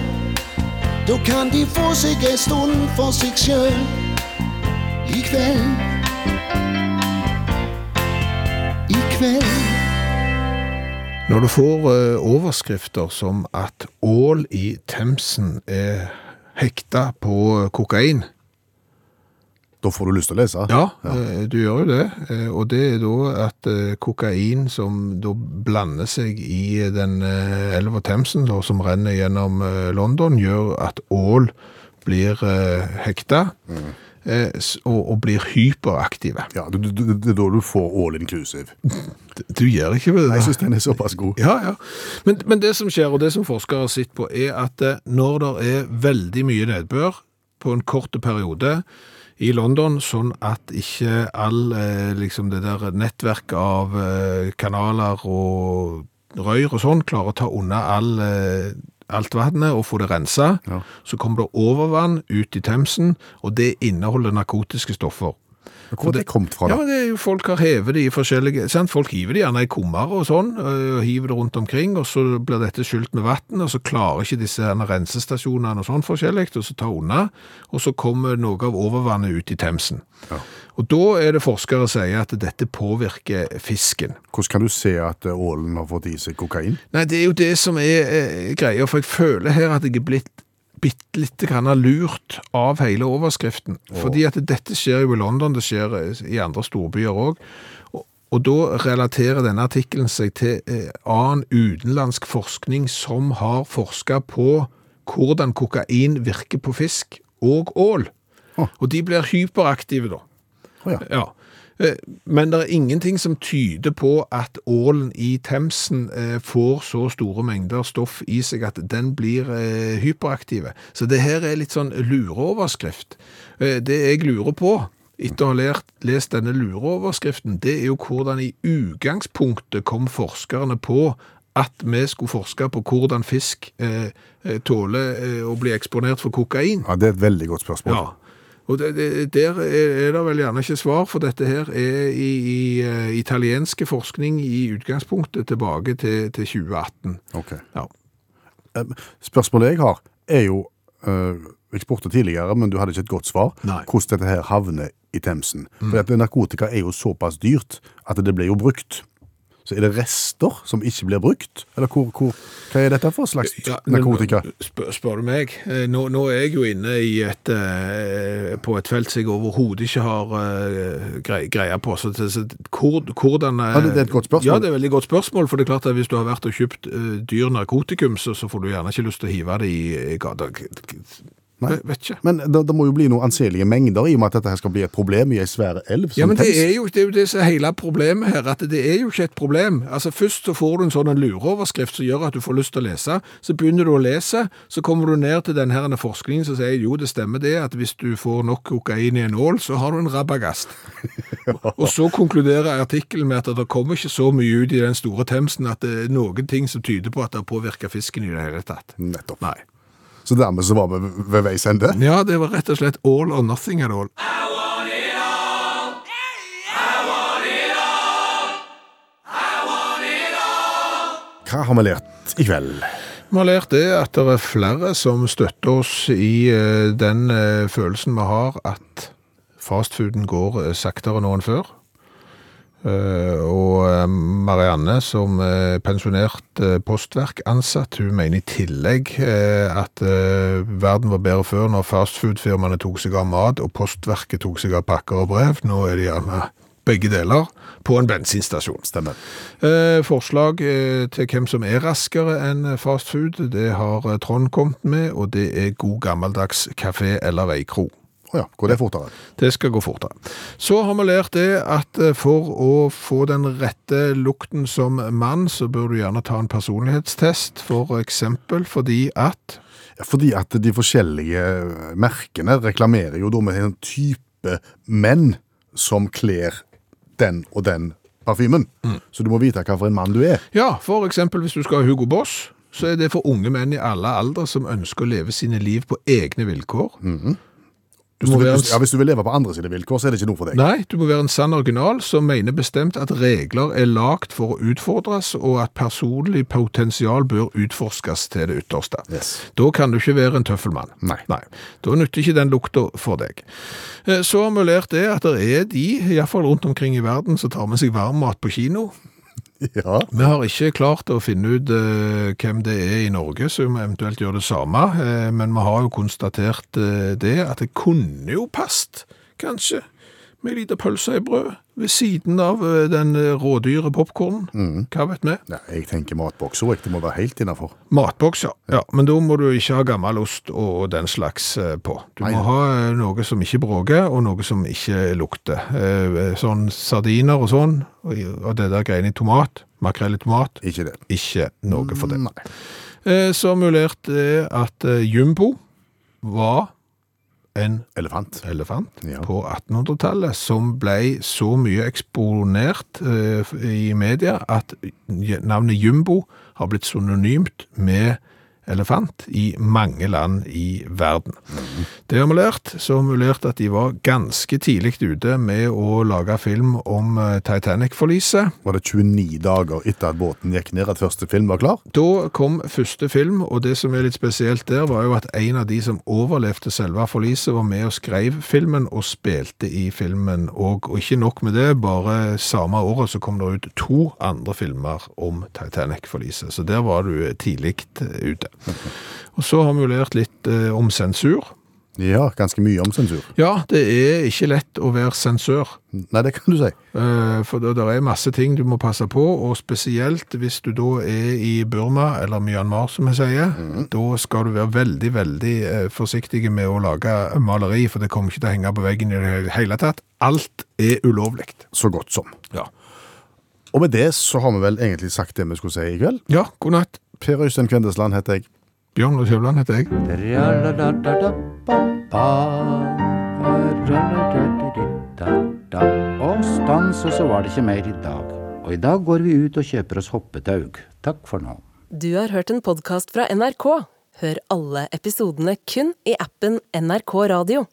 Speaker 11: Da kan de få seg ei stund for seg sjøl i kveld. I kveld.
Speaker 3: Når du får eh, overskrifter som at ål i Themsen er hekta på eh, kokain.
Speaker 4: Da får du lyst til å lese.
Speaker 3: Ja, eh, du gjør jo det. Eh, Og det er da at eh, kokain som da blander seg i den eh, elva Themsen da, som renner gjennom eh, London, gjør at ål blir eh, hekta eh, s- og, og blir hyperaktive.
Speaker 4: Ja, du- du- du- Det er da du får all inclusive.
Speaker 3: Du gjør ikke det.
Speaker 4: Jeg syns den er såpass god.
Speaker 3: Ja, ja. Men, men det som skjer, og det som forskere har sett på, er at eh, når det er veldig mye nedbør på en kort periode i London, sånn at ikke all eh, liksom det der nettverk av eh, kanaler og røyr og sånn klarer å ta unna all, eh, alt vannet og få det rensa,
Speaker 4: Ja.
Speaker 3: så kommer det overvann ut i Themsen, og det inneholder narkotiske stoffer.
Speaker 4: Hvor har det kommet fra?
Speaker 3: Ja,
Speaker 4: da?
Speaker 3: men det er jo folk har hevet de i forskjellige sant? Folk hiver de gjerne i kummer og sånn, øh, og hiver det rundt omkring, og så blir dette skylt med vann, og så klarer ikke disse herne rensestasjonene og sånn forskjellig, og så ta unna, og så kommer noe av overvannet ut i Themsen.
Speaker 4: Ja.
Speaker 3: Og da er det forskere sier at dette påvirker fisken.
Speaker 4: Hvordan kan du se at eh, ålen har fått i seg kokain?
Speaker 3: Nei, det er jo det som er eh, greia, for jeg føler her at jeg er blitt bitte lite grann lurt av hele overskriften. Fordi at dette skjer jo i London, det skjer eh, i andre storbyer òg. Og, og da relaterer denne artikkelen seg til eh, annen utenlandsk forskning som har forska på hvordan kokain virker på fisk og ål.
Speaker 4: Å.
Speaker 3: Og de blir hyperaktive da.
Speaker 4: Å ja.
Speaker 3: Ja. Eh, Men det er ingenting som tyder på at ålen i Themsen eh, får så store mengder stoff i seg at den blir eh, hyperaktive. Så det her er litt sånn lureoverskrift. Eh, Det jeg lurer på, etter å ha lært, lest denne lureoverskriften, det er jo hvordan i utgangspunktet kom forskerne på at vi skulle forske på hvordan fisk eh, eh, tåler eh, å bli eksponert for kokain.
Speaker 4: ja, Det er et veldig godt spørsmål.
Speaker 3: Ja. Og det, det, der er er det vel gjerne ikke svar, for dette her er i, i eh, italienske forskning i utgangspunktet tilbake til, til 2018.
Speaker 4: Ok.
Speaker 3: Ja.
Speaker 4: Em, Eh, Spørsmålet jeg har, er jo eh, Jeg spurte tidligere, men du hadde ikke et godt svar.
Speaker 3: Nei. Mm.
Speaker 4: Hvordan dette her havner i Themsen. For at narkotika er jo såpass dyrt at det blir jo brukt. Så er det rester som ikke blir brukt? Eller hvor, hvor, hva er dette for slags
Speaker 3: Ja, men
Speaker 4: narkotika?
Speaker 3: nå- Spør, spør du meg? Eh, Nå, nå er jeg jo inne i et, eh, på et felt som jeg overhodet ikke har eh, grei- greie på. Så, så, så hvor, hvordan eh,
Speaker 4: Ja, det- det er et godt spørsmål.
Speaker 3: Ja, det er et veldig godt spørsmål. For det er klart at hvis du har vært og kjøpt eh, dyr narkotikum, så, så får du gjerne ikke lyst til å hive det i, i gata.
Speaker 4: Nei.
Speaker 3: Vet ikke.
Speaker 4: Men det, det må jo bli noen anselige mengder, i og med at dette her skal bli et problem i ei svær elv.
Speaker 3: Ja,
Speaker 4: som
Speaker 3: men det
Speaker 4: Themsen.
Speaker 3: er, jo, det er jo det som er hele problemet her, at det er jo ikke et problem. Altså Først så får du en sånn en lureoverskrift som gjør at du får lyst til å lese, så begynner du å lese, så kommer du ned til den her forskningen som sier jo, det stemmer det, at hvis du får nok kokain i en ål, så har du en rabagast. Og så konkluderer artikkelen med at det kommer ikke så mye ut i den store Themsen at det er noen ting som tyder på at det har påvirka fisken i det hele tatt.
Speaker 4: Nettopp.
Speaker 3: Nei.
Speaker 4: Så dermed så var vi ved- ved veis ende.
Speaker 3: Ja, det var rett og slett all or nothing at all.
Speaker 4: Hva har vi lært i kveld?
Speaker 3: Vi har lært det at det er flere som støtter oss i eh, den eh, følelsen vi har at fastfooden går eh, saktere nå enn før. Eh, Og eh, Marianne, som er pensjonert eh, postverkansatt, hun mener i tillegg eh, at eh, verden var bedre før når fastfoodfirmaene tok seg av mat og postverket tok seg av pakker og brev. Nå er det gjerne begge deler på en bensinstasjon.
Speaker 4: Stemmer.
Speaker 3: Eh, forslag eh, til hvem som er raskere enn eh, fast food, det har eh, Trond kommet med, og det er god gammeldags kafé eller veikro.
Speaker 4: Å ja, går det fortere?
Speaker 3: Det skal gå fortere. Så har vi lært det at eh, for å få den rette lukten som mann, så bør du gjerne ta en personlighetstest, for eksempel fordi at
Speaker 4: Ja, Fordi at de forskjellige eh, merkene reklamerer jo da med en type menn som kler den og den parfymen.
Speaker 3: Mm.
Speaker 4: Så du må vite hva for en mann du er.
Speaker 3: Ja, for eksempel hvis du skal ha Hugo Boss, så er det for unge menn i alle aldre som ønsker å leve sine liv på egne vilkår. Du
Speaker 4: Hvis du,
Speaker 3: må
Speaker 4: vil,
Speaker 3: være en
Speaker 4: hvis, ja, hvis du vil leve på andre sine vilkår, så er det ikke noe for deg.
Speaker 3: Nei, du må være en sann original som mener bestemt at regler er lagt for å utfordres, og at personlig potensial bør utforskes til det ytterste.
Speaker 4: Yes.
Speaker 3: Da kan du ikke være en tøffelmann.
Speaker 4: Nei.
Speaker 3: Da nytter ikke den lukta for deg. Eh, Så har vi lært det at det er de, iallfall rundt omkring i verden, som tar med seg varm mat på kino.
Speaker 4: Ja.
Speaker 3: Vi har ikke klart å finne ut eh, hvem det er i Norge som eventuelt gjør det samme, eh, men vi har jo konstatert eh, det, at det kunne jo passet, kanskje, med en liten pølse i brød ved siden av eh, den eh, rådyre popcornen. Hva vet vi?
Speaker 4: Nei, jeg tenker matbokser, jeg. Det må være helt innafor.
Speaker 3: Matboks, ja. ja. Men da må du ikke ha gammel ost og den slags eh, på. Du
Speaker 4: Nei.
Speaker 3: må ha eh, noe som ikke bråker, og noe som ikke lukter. Eh, Sånn sardiner og sånn, og og det der greiene i tomat, makrell i tomat,
Speaker 4: Ikke det.
Speaker 3: ikke noe for det.
Speaker 4: Nei.
Speaker 3: Eh, Så mulerte det at eh, Jumbo var en
Speaker 4: Elefant.
Speaker 3: elefant
Speaker 4: Ja.
Speaker 3: på 1800-tallet som ble så mye eksponert eh, i media at navnet Jumbo har blitt synonymt med elefant i mange land i verden. Det har vi lært, så har vi lært at de var ganske tidlig ute med å lage film om eh, Titanic-forliset.
Speaker 4: Var det 29 dager etter at båten gikk ned at første film var klar?
Speaker 3: Da kom første film, og det som er litt spesielt der, var jo at en av de som overlevde selve forliset, var med og skrev filmen og spilte i filmen òg. Og ikke nok med det, bare samme året så kom det ut to andre filmer om Titanic-forliset. Så der var du tidlig ute. Og så har vi jo lært litt eh, om sensur.
Speaker 4: Ja, ganske mye om sensur.
Speaker 3: Ja, det er ikke lett å være sensør.
Speaker 4: Nei, det kan du si.
Speaker 3: Eh, For det der er masse ting du må passe på, og spesielt hvis du da er i Burma, eller Myanmar som jeg sier, da skal du være veldig, veldig eh, forsiktig med å lage eh, maleri, for det kommer ikke til å henge på veggen i det hele tatt. Alt er ulovlig.
Speaker 4: Så godt som.
Speaker 3: Ja.
Speaker 4: Og med det så har vi vel egentlig sagt det vi skulle si i kveld.
Speaker 3: Ja, god natt.
Speaker 4: Per Øystein Kvendesland heter jeg.
Speaker 3: Bjørn Lars Høvland heter jeg.
Speaker 2: Og stans, og så var det ikke mer i dag. Og i dag går vi ut og kjøper oss hoppetaug. Takk for nå.
Speaker 1: Du har hørt en podkast fra NRK. Hør alle episodene kun i appen NRK Radio.